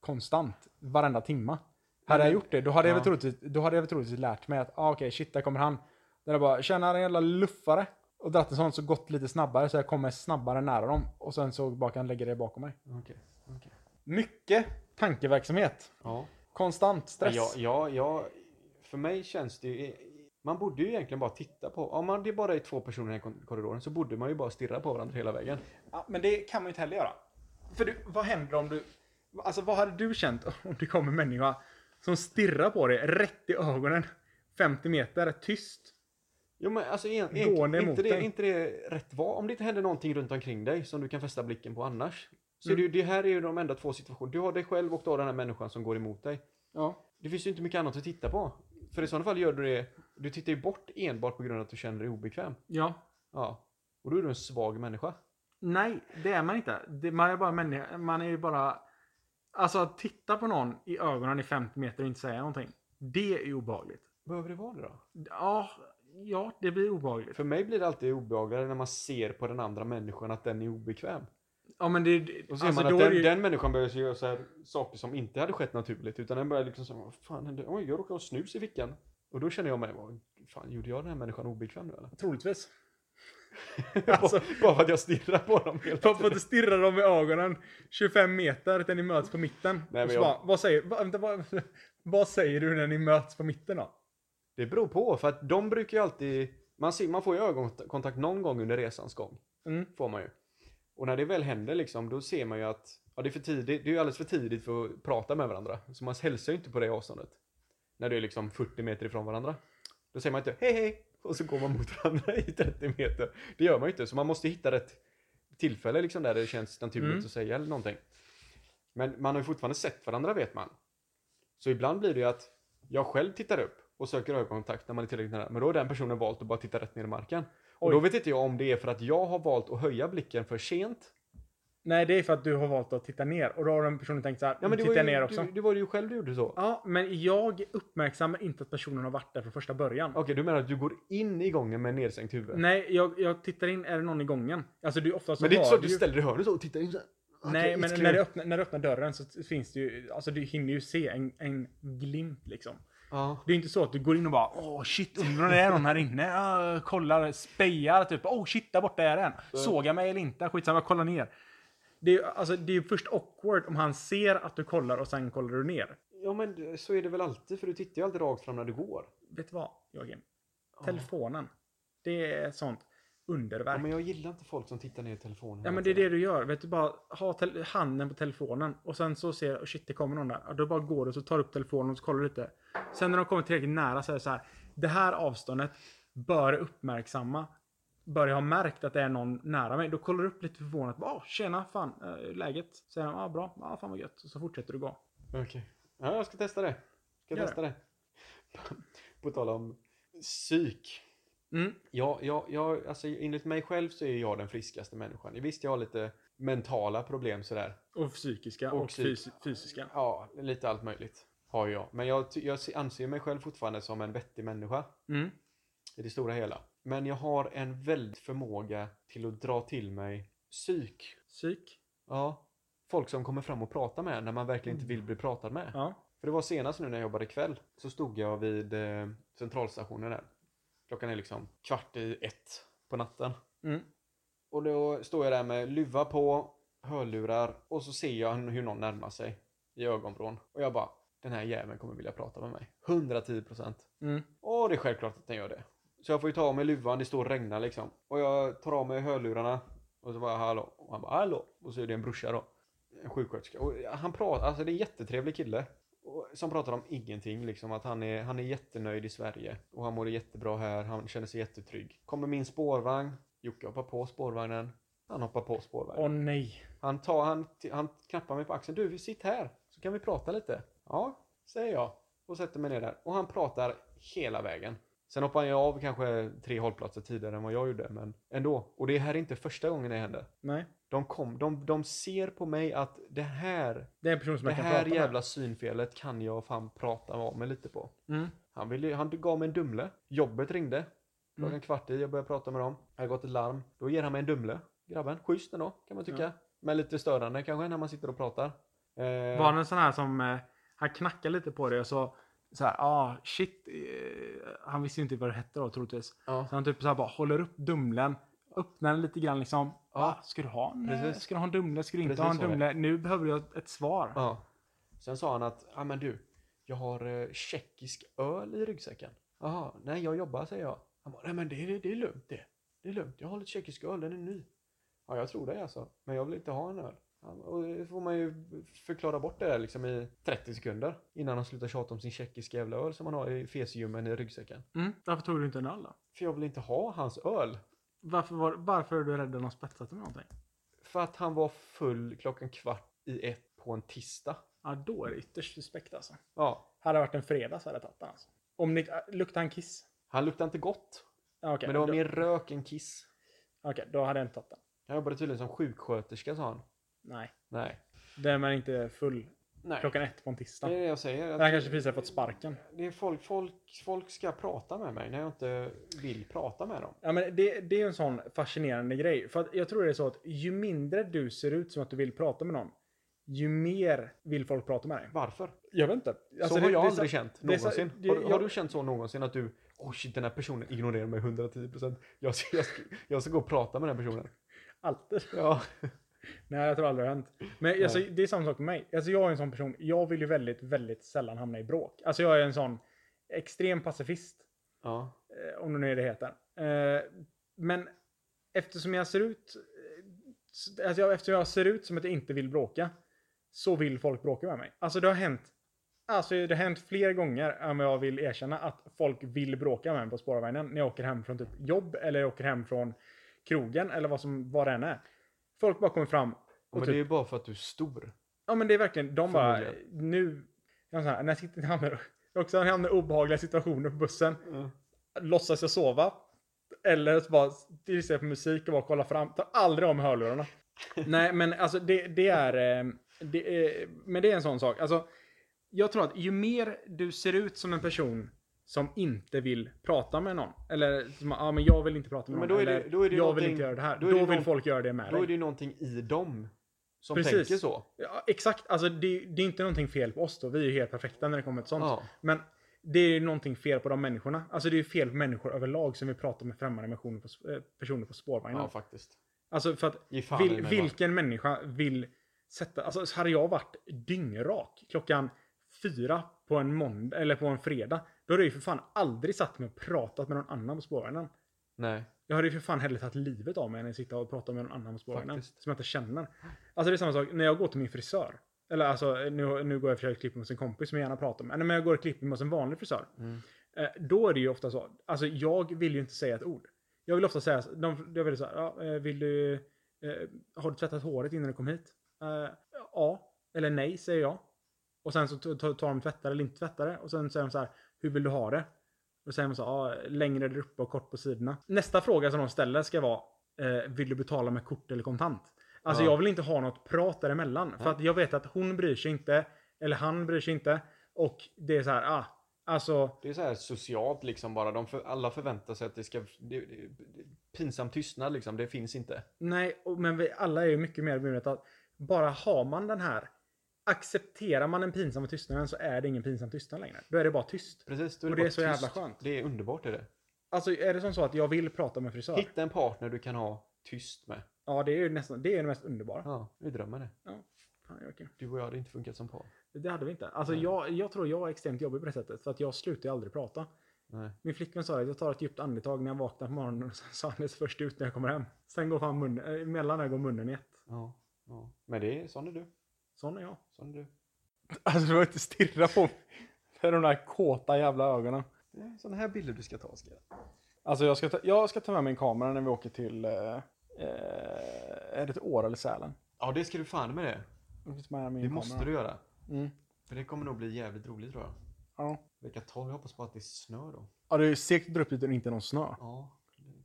konstant, varenda timma. Hade jag gjort det, då hade jag väl
Ja.
troligtvis, då hade jag väl troligtvis lärt mig att ah, okej, shit, där kommer han. Där jag bara, tjena den jävla luffare. Och dratt en sån så gått lite snabbare så jag kommer snabbare nära dem. Och sen så bara kan lägga det bakom mig.
Okej. okej.
Mycket tankeverksamhet.
Ja.
Konstant stress.
Ja, ja, ja, för mig känns det ju... Man borde ju egentligen bara titta på... Om man, det bara är två personer i den här korridoren så borde man ju bara stirra på varandra hela vägen.
Ja, men det kan man ju inte heller göra. För du, vad händer om du... Alltså vad hade du känt [LAUGHS] om det kommer en människa som stirrar på dig rätt i ögonen 50 meter, tyst?
Jo men alltså en, en,
Går ni emot
inte, det,
dig?
inte det rätt var. Om det inte händer någonting runt omkring dig som du kan fästa blicken på annars. Så det,
Mm.
det här är ju de enda två situationer. Du har dig själv och du har den här människan som går emot dig.
Ja.
Det finns ju inte mycket annat att titta på. För i sådana fall gör du det, du tittar ju bort enbart på grund av att du känner dig obekväm.
Ja.
Ja. Och då är du en svag människa.
Nej, det är man inte. Det, man är bara människa. Man är ju bara... Alltså att titta på någon i ögonen i 50 meter och inte säga någonting. Det är obehagligt.
Behöver det vara det då?
Ja, ja det blir obehagligt.
För mig blir det alltid obehagligare när man ser på den andra människan att den är obekväm.
Ja, men det... det-
Och så ser
alltså,
man
då
att
är
den,
det ju-
den människan börjar göra så här saker som inte hade skett naturligt. Utan den börjar liksom så här, "Vad fan hände? Oj, jag råkade ha snus i fickan. Och då känner jag mig, vad fan gjorde jag den här människan obekväm nu eller? [LAUGHS]
Troligtvis.
Alltså, bara för att jag stirrar på dem hela
För för att
tiden.
du stirrar dem i ögonen 25 meter där ni möts på mitten.
men
och så
jag-
bara, vad, säger, vad, vänta, vad, [LAUGHS] vad säger du när ni möts på mitten då?
Det beror på, för att de brukar ju alltid, man, ser, man får ju ögonkontakt någon gång under resans gång.
Mm.
Får man ju. Och när det väl händer liksom, då ser man ju att, ja det är för tidigt, det är ju alldeles för tidigt för att prata med varandra. Så man hälsar ju inte på det avståndet. När du är liksom 40 meter ifrån varandra. Då säger man inte hej hej och så går man mot [LAUGHS] varandra i 30 meter. Det gör man ju inte, så man måste hitta rätt tillfälle liksom där det känns naturligt
Mm.
att säga eller någonting. Men man har ju fortfarande sett varandra vet man. Så ibland blir det ju att jag själv tittar upp och söker ögonkontakt när man är tillräckligt nära. Men då har den personen valt att bara titta rätt ner i marken. Och
Oj.
då vet inte jag om det är för att jag har valt att höja blicken för sent.
Nej, det är för att du har valt att titta ner och då har den personen tänkt så här,
Ja, men det,
tittar
var
jag
ju,
ner också.
Du, det var ju själv du gjorde så.
Ja, men jag uppmärksammar inte att personen har varit där från första början.
Okej, du menar att du går in i gången med nedsänkt huvud?
Nej, jag, jag tittar in, är det någon i gången? Alltså du oftast
men det är
har
inte så att du
ju-
ställer dig i hörnet så och tittar in så här. Okej,
Nej,
it's
men
clear.
när du, öppnar, när du öppnar dörren så t- finns det ju, alltså du hinner ju se en, en glimt liksom.
Ja.
Det är inte så att du går in och bara åh shit, undrar om det är någon här inne? Jag kollar, spejar typ. Åh oh, shit, där borta är den. Såg jag mig eller inte? Skitsamma, jag kollar ner. Det är ju alltså, det är ju först awkward om han ser att du kollar och sen kollar du ner.
ja, men så är det väl alltid för du tittar ju alltid rakt fram när du går.
Vet du vad, Joakim? Telefonen. Det är sånt
Ja,
underverk.
men jag gillar inte folk som tittar ner i telefonen.
Ja men det är det du gör. Vet du bara ha tel- handen på telefonen och sen så ser oh shit det kommer någon där. Ja, Då bara går du och så tar du upp telefonen och så kollar du lite. Sen när de kommer tillräckligt nära så är det så här. Det här avståndet bör uppmärksamma, bör jag ha märkt att det är någon nära mig, då kollar du upp lite förvånat. Bara, "Ah, tjena, fan, eh, läget? Säger de, ah, bra, ah, fan vad gött. Och så fortsätter du gå.
Okej. Ja, jag ska testa det. Ska
Gör det.
testa det. [LAUGHS] På tal om psyk.
Mm.
Ja, ja, ja, alltså enligt mig själv så är jag den friskaste människan. Visst, jag har lite mentala problem sådär.
Och psykiska och,
Och psyk-
fysi- fysiska.
Ja, lite allt möjligt har jag. Men jag, ty- jag se- anser mig själv fortfarande som en vettig människa
Mm.
i det stora hela. Men jag har en väldig förmåga till att dra till mig psyk.
Psyk.
Ja, folk som kommer fram och pratar med en när man verkligen inte vill bli pratad med.
Mm. Ja.
För det var senast nu när jag jobbade kväll så stod jag vid eh, centralstationen där. Klockan är liksom kvart i ett på natten.
Mm.
Och då står jag där med luva på, hörlurar och så ser jag hur någon närmar sig i ögonvrån. Och jag bara, den här jäveln kommer vilja prata med mig. 110 procent.
Mm.
Och det är självklart att den gör det. Så jag får ju ta av mig luvan, det står och regnar liksom. Och jag tar av mig hörlurarna. Och så bara hallå. Och han bara hallå. Och så är det en brorsa då. En sjuksköterska. Och han pratar, alltså det är en jättetrevlig kille. Och, som pratar om ingenting liksom. Att han är, han är jättenöjd i Sverige. Och han mår jättebra här, han känner sig jättetrygg. Kommer min spårvagn. Jocke hoppar på spårvagnen. Han hoppar på spårvagnen.
Åh nej.
Han, tar, han, han knappar mig på axeln. Du, vi sitter här så kan vi prata lite. Ja, säger jag och sätter mig ner där. Och han pratar hela vägen. Sen hoppar han ju av kanske tre hållplatser tidigare än vad jag gjorde, men ändå. Och det här är inte första gången det händer.
Nej.
De, kom, de, de ser på mig att det här,
Det är en person som
det
jag kan
här
prata
jävla synfelet kan jag fan prata av mig lite på.
med. Mm.
Han, ville, han gav mig en Dumle. Jobbet ringde. Klockan
Mm.
kvart i, jag började prata med dem. Jag hade gått ett larm. Då ger han mig en Dumle. Grabben, schysst ändå kan man tycka.
Ja.
Men lite störande kanske när man sitter och pratar. Eh,
Var han en sån här som, eh, han knackade lite på det och så, så här, ah shit. Eh, han visste ju inte vad det hette då troligtvis.
Ja,
Så han typ så här bara håller upp dumlen, öppnar den lite grann liksom.
Ja.
Ah, ska du ha en, eh,
Precis.
ska du ha en dumle? Ska du inte
Precis
ha en
så är det.
dumle? Nu behöver jag ett svar.
ja. Sen sa han att, ja ah, men du, jag har eh, tjeckisk öl i ryggsäcken. Jaha, nej jag jobbar säger jag. Han bara, nej men det, är- det är lugnt det. Det är lugnt, jag har lite tjeckisk öl, den är ny. Ja, jag tror det alltså. Men jag vill inte ha en öl. Ja, Och det får man ju förklara bort det där liksom i 30 sekunder. Innan han slutar tjata om sin tjeckiska jävla öl som han har i fesljummen i ryggsäcken.
Mm. Varför tog du inte en öl då?
För jag vill inte ha hans öl.
Varför, var, varför är du rädd att någon spetsat med någonting?
För att han var full klockan kvart i ett på en tisdag.
Ja, då är det ytterst suspekt alltså.
Ja,
Hade det varit en fredag så hade jag tagit den alltså. Om ni, äh, luktar han kiss?
han luktade inte gott.
Ja, Okej,
men det var
då,
mer rök än kiss.
okej, då hade jag inte tagit den.
Han jobbade tydligen som sjuksköterska sa han.
Nej.
Nej.
Den är inte full
Nej.
klockan ett på en tisdag.
Det är det jag säger.
Han kanske precis har fått sparken.
Det är folk, folk, folk ska prata med mig när jag inte vill prata med dem.
Ja, men det, det är en sån fascinerande grej. För att jag tror det är så att ju mindre du ser ut som att du vill prata med någon, ju mer vill folk prata med dig.
Varför?
Jag vet inte. Alltså,
så
det-
har jag
det är
aldrig
så-
känt
det är så-
någonsin.
det-
har, du- har
jag-
du känt så någonsin att du, oj shit den här personen ignorerar mig 110%. Jag ska, jag, ska, jag ska gå och prata med den här personen.
Alltid. [LAUGHS]
Ja.
Nej, jag tror aldrig det har hänt. Men alltså, det är samma sak med mig. Alltså, jag är en sån person. Jag vill ju väldigt, väldigt sällan hamna i bråk. Alltså jag är en sån extrem pacifist.
ja.
Eh, om det nu är det heter. Eh, men eftersom jag ser ut eh, alltså jag, eftersom jag ser ut som att jag inte vill bråka så vill folk bråka med mig. Alltså det har hänt Alltså det har hänt fler gånger än vad jag vill erkänna att folk vill bråka med mig på spårvagnen när jag åker hem från typ jobb eller jag åker hem från krogen eller vad, som, vad det än är. Folk bara kommer fram och
Men
typ,
det är ju bara för att du är stor.
Ja men det är verkligen, de bara
Förmodligen.
nu, jag, så här, när jag sitter, jag hamnar, jag också hamnar i obehagliga situationer på bussen låtsas jag sova. Eller så bara lyssnar på musik och bara kollar fram. Tar aldrig om hörlurarna. Nej, men alltså det, det är... eh, Det är men det är en sån sak. Alltså, jag tror att ju mer du ser ut som en person som inte vill prata med någon. Eller som, ja men jag vill inte prata med
Men
någon.
då är det-
eller,
då är det
jag vill
någonting-
inte göra det här.
då
Då,
är det
vill
någon-
folk göra det med
Då är
dig.
det ju någonting i dem som
Precis.
tänker så.
Ja, exakt, alltså det, det är inte någonting fel på oss då. Vi är ju helt perfekta när det kommer till sånt.
Ja.
Men det är ju någonting fel på de människorna. Alltså det är ju fel på människor överlag som vi pratar med främmande missioner på, sp- eh, personer på spårvagnen.
Ja, faktiskt.
Alltså för att
Ge fan i
vil,
mig bara.
vilken människa vill sätta... Alltså så hade jag varit dyngrak klockan fyra på en måndag eller på en fredag. Då hade jag ju för fan aldrig satt mig och pratat med någon annan på spårvagnen.
Nej.
Jag hade ju för fan hellre tagit livet av mig än att sitta och prata med någon annan på spårvagnen.
Faktiskt.
Som jag inte känner. Alltså det är samma sak när jag går till min frisör. Eller alltså nu, nu går jag och försöker klippa mig hos en kompis som jag gärna pratar med. Nej, men jag går och klipper mig hos en vanlig frisör.
Eh, Då är det ju ofta så. Alltså jag vill ju inte säga ett ord. Jag vill ofta säga, så- de, jag vill säga, ja, eh, vill du, eh, har du tvättat håret innan du kom hit? Eh, ja, eller nej säger jag. Och sen så tar tar de tvättare eller inte tvättare. Och sen säger de så här, hur vill du ha det? Och säger man så här, ja, längre där uppe och kort på sidorna. Nästa fråga som de ställer ska vara, eh, vill du betala med kort eller kontant? Alltså
Ja.
jag vill inte ha något prat däremellan. För att jag vet att hon bryr sig inte, eller han bryr sig inte. Och det är så här, ah, alltså
Det är så här socialt liksom bara. De för, alla förväntar sig att det ska... Det, det, pinsam tystnad liksom, det finns inte.
Nej, och- men vi alla är ju mycket mer bemedvetna att bara har man den här Accepterar man den pinsamma tystnaden så är det ingen pinsam tystnad längre. Då är det bara tyst.
Precis, då
Och
bara
det är så jävla
tyst.
skönt.
Det är underbart är det.
Alltså är det som så att jag vill prata med frisör?
Hitta en partner du kan ha tyst med.
Ja, det är ju nästan det, är det mest underbara.
Ja, vi drömmer det.
Fan, jag orkar.
Du och jag hade inte funkat som par.
Det hade vi inte. Alltså
Nej.
jag, jag tror jag är extremt jobbig på det sättet. För att jag slutar ju aldrig prata.
Nej.
Min flickvän sa att jag tar ett djupt andetag när jag vaknar på morgonen och sen sa han det först ut när jag kommer hem. Sen går fan munnen, eh, mellan ögon och munnen i ett.
Ja, ja. Men det är, sån är du.
Sån är jag.
Sån är du.
Alltså du behöver inte stirra på mig. Med de där kåta jävla ögonen.
Det är såna här bilder du ska ta, ska
Alltså jag ska ta, jag ska ta med min kamera när vi åker till... Eh, eh, är det till Åre eller Sälen?
Ja, det ska du fan med det.
Jag ska ta med min
Det måste
kamera.
du göra.
Mm.
För det kommer nog bli jävligt roligt tror jag.
Ja.
Vecka 12, jag hoppas på att det snör då.
ja, det är segt att dra upp dit och inte någon snö.
Ja,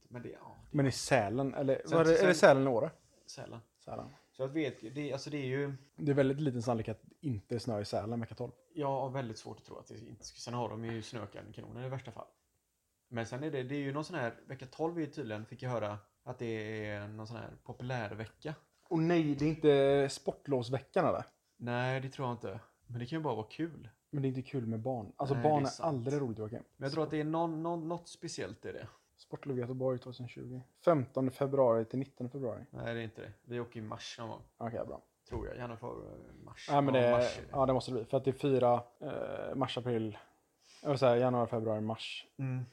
men det, ja, det
Men i Sälen, eller
Sen-
var det, är det
sen-
Sälen eller Åre?
är sällan.
Sälen.
Så jag vet ju, det, alltså det är ju,
Det är väldigt liten sannolikhet att det inte är snö i Sälen vecka 12.
jag har väldigt svårt att tro att det inte ska, sen har de ju snökanoner i värsta fall. Men sen är det, det är ju någon sån här, vecka 12 är ju tydligen, fick jag höra, att det är någon sån här populärvecka.
Och nej, det är inte sportlovsveckan eller?
Nej, det tror jag inte. Men det kan ju bara vara kul.
Men det är inte kul med barn. Alltså
Nej, det
barn
är
är,
sant.
aldrig roligt Joakim.
Men jag tror att det är någon, någon, något speciellt i det.
Sportlov Göteborg 2020. 15 februari till 19 februari.
Nej, det är inte det. Vi åker i mars någon gång.
Okej, bra.
Tror jag. Gärna för eh, mars.
Ja, men
Ja,
det,
mars är det.
ja, det måste det bli. För att det är fyra eh, mars, april. Jag vill säga januari, februari, mars.
Mm.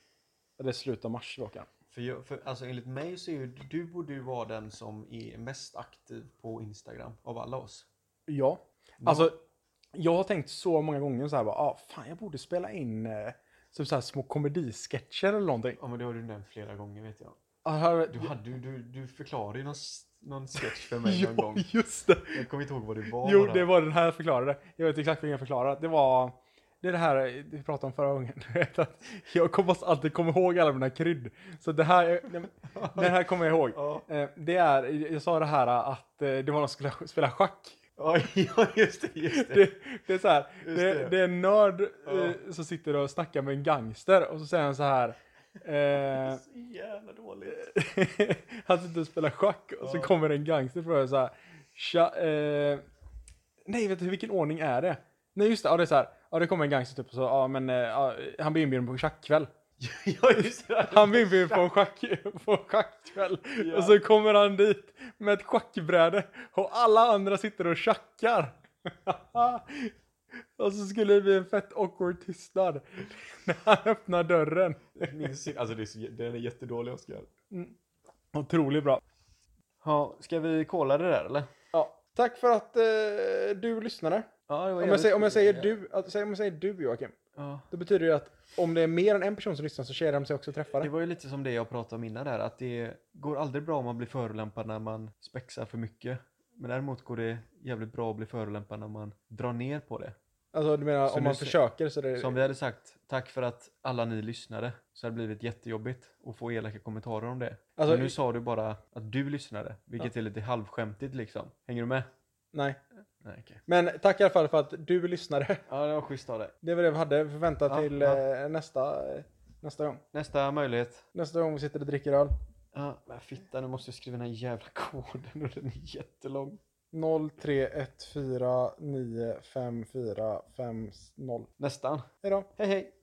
Eller slutet av mars Joakim.
För, jag, för alltså enligt mig så är ju du borde ju vara den som är mest aktiv på Instagram av alla oss.
Ja. Alltså, jag har tänkt så många gånger så här bara, ah, fan jag borde spela in eh, som så här små komedisketcher eller någonting.
Ja men det har du nämnt flera gånger vet jag.
Ah, här-
Du, hade, du, du, du förklarade ju någon, s- någon sketch
[LAUGHS]
för mig någon
jo,
gång.
just det.
Jag kommer inte ihåg vad det var.
Jo,
bara.
det var den här jag förklarade. Jag vet exakt vilken jag förklarade. Det var det, är det här vi pratade om förra gången. [LAUGHS] Du vet att jag hoppas alltid komma ihåg alla mina krydd. Så det här,
[LAUGHS]
den här kommer jag ihåg.
Ja.
Eh, Det är, jag sa det här att eh, det var någon som skulle spela schack.
Ja, [LAUGHS] ja, just det. Just det.
Det, det är så här, det,
Just det.
det. är en nörd eh,
Ja.
som sitter och snackar med en gangster och så säger han så här.
Det är
Eh, [LAUGHS]
så jävla dåligt. [LAUGHS]
han sitter och spelar schack och så
Ja.
kommer en gangster för så här. Tja, eh, nej, vet du vilken ordning är det? Nej, just det. Ja, det är så här. Ja, det kommer en gangster typ och så, ja, men eh, ja, han blir inbjuden på en schackkväll.
Ja, just det.
Han blir inbjuden på en, schack, på en schackkväll.
Ja.
Och så kommer han dit med ett schackbräde och alla andra sitter och tjackar. [LAUGHS] och så skulle det bli en fett awkward tystnad när han öppnar dörren.
Min, syn- alltså det är så, jä- den är jättedålig Oskar.
Otroligt bra.
Ja, ska vi kolla det där eller?
Ja, tack för att eh, du lyssnade.
Ja, det var
Om jag, säger, om jag säger du, att, säg- om jag säger du Joakim,
Ja.
då betyder det att om det är mer än en person som lyssnar så känner de sig också
Det
träffade.
var ju lite som det jag pratade om innan där, att det går aldrig bra om man blir förolämpad när man spexar för mycket. Men däremot går det jävligt bra att bli förolämpad när man drar ner på det.
Alltså du menar
Så
om
nu
man
ser-
försöker så är det...
Som vi hade sagt, tack för att alla ni lyssnade, så hade det blivit jättejobbigt att få elaka kommentarer om det.
Alltså-
Men nu sa du bara att du lyssnade, vilket är lite halvskämtigt liksom. Hänger du med?
Nej.
Nej, okej.
Men tack i alla fall för att du lyssnade.
Ja, det var schysst av dig.
Det var det vi hade. Vi får vänta
Ja,
till
ja.
eh, nästa, eh, nästa gång.
Nästa möjlighet.
Nästa gång vi sitter och dricker öl.
Ja, men fitta, nu måste jag skriva den här jävla koden och den är jättelång.
0314954550.
Nästan.
Hej då.
Hej hej!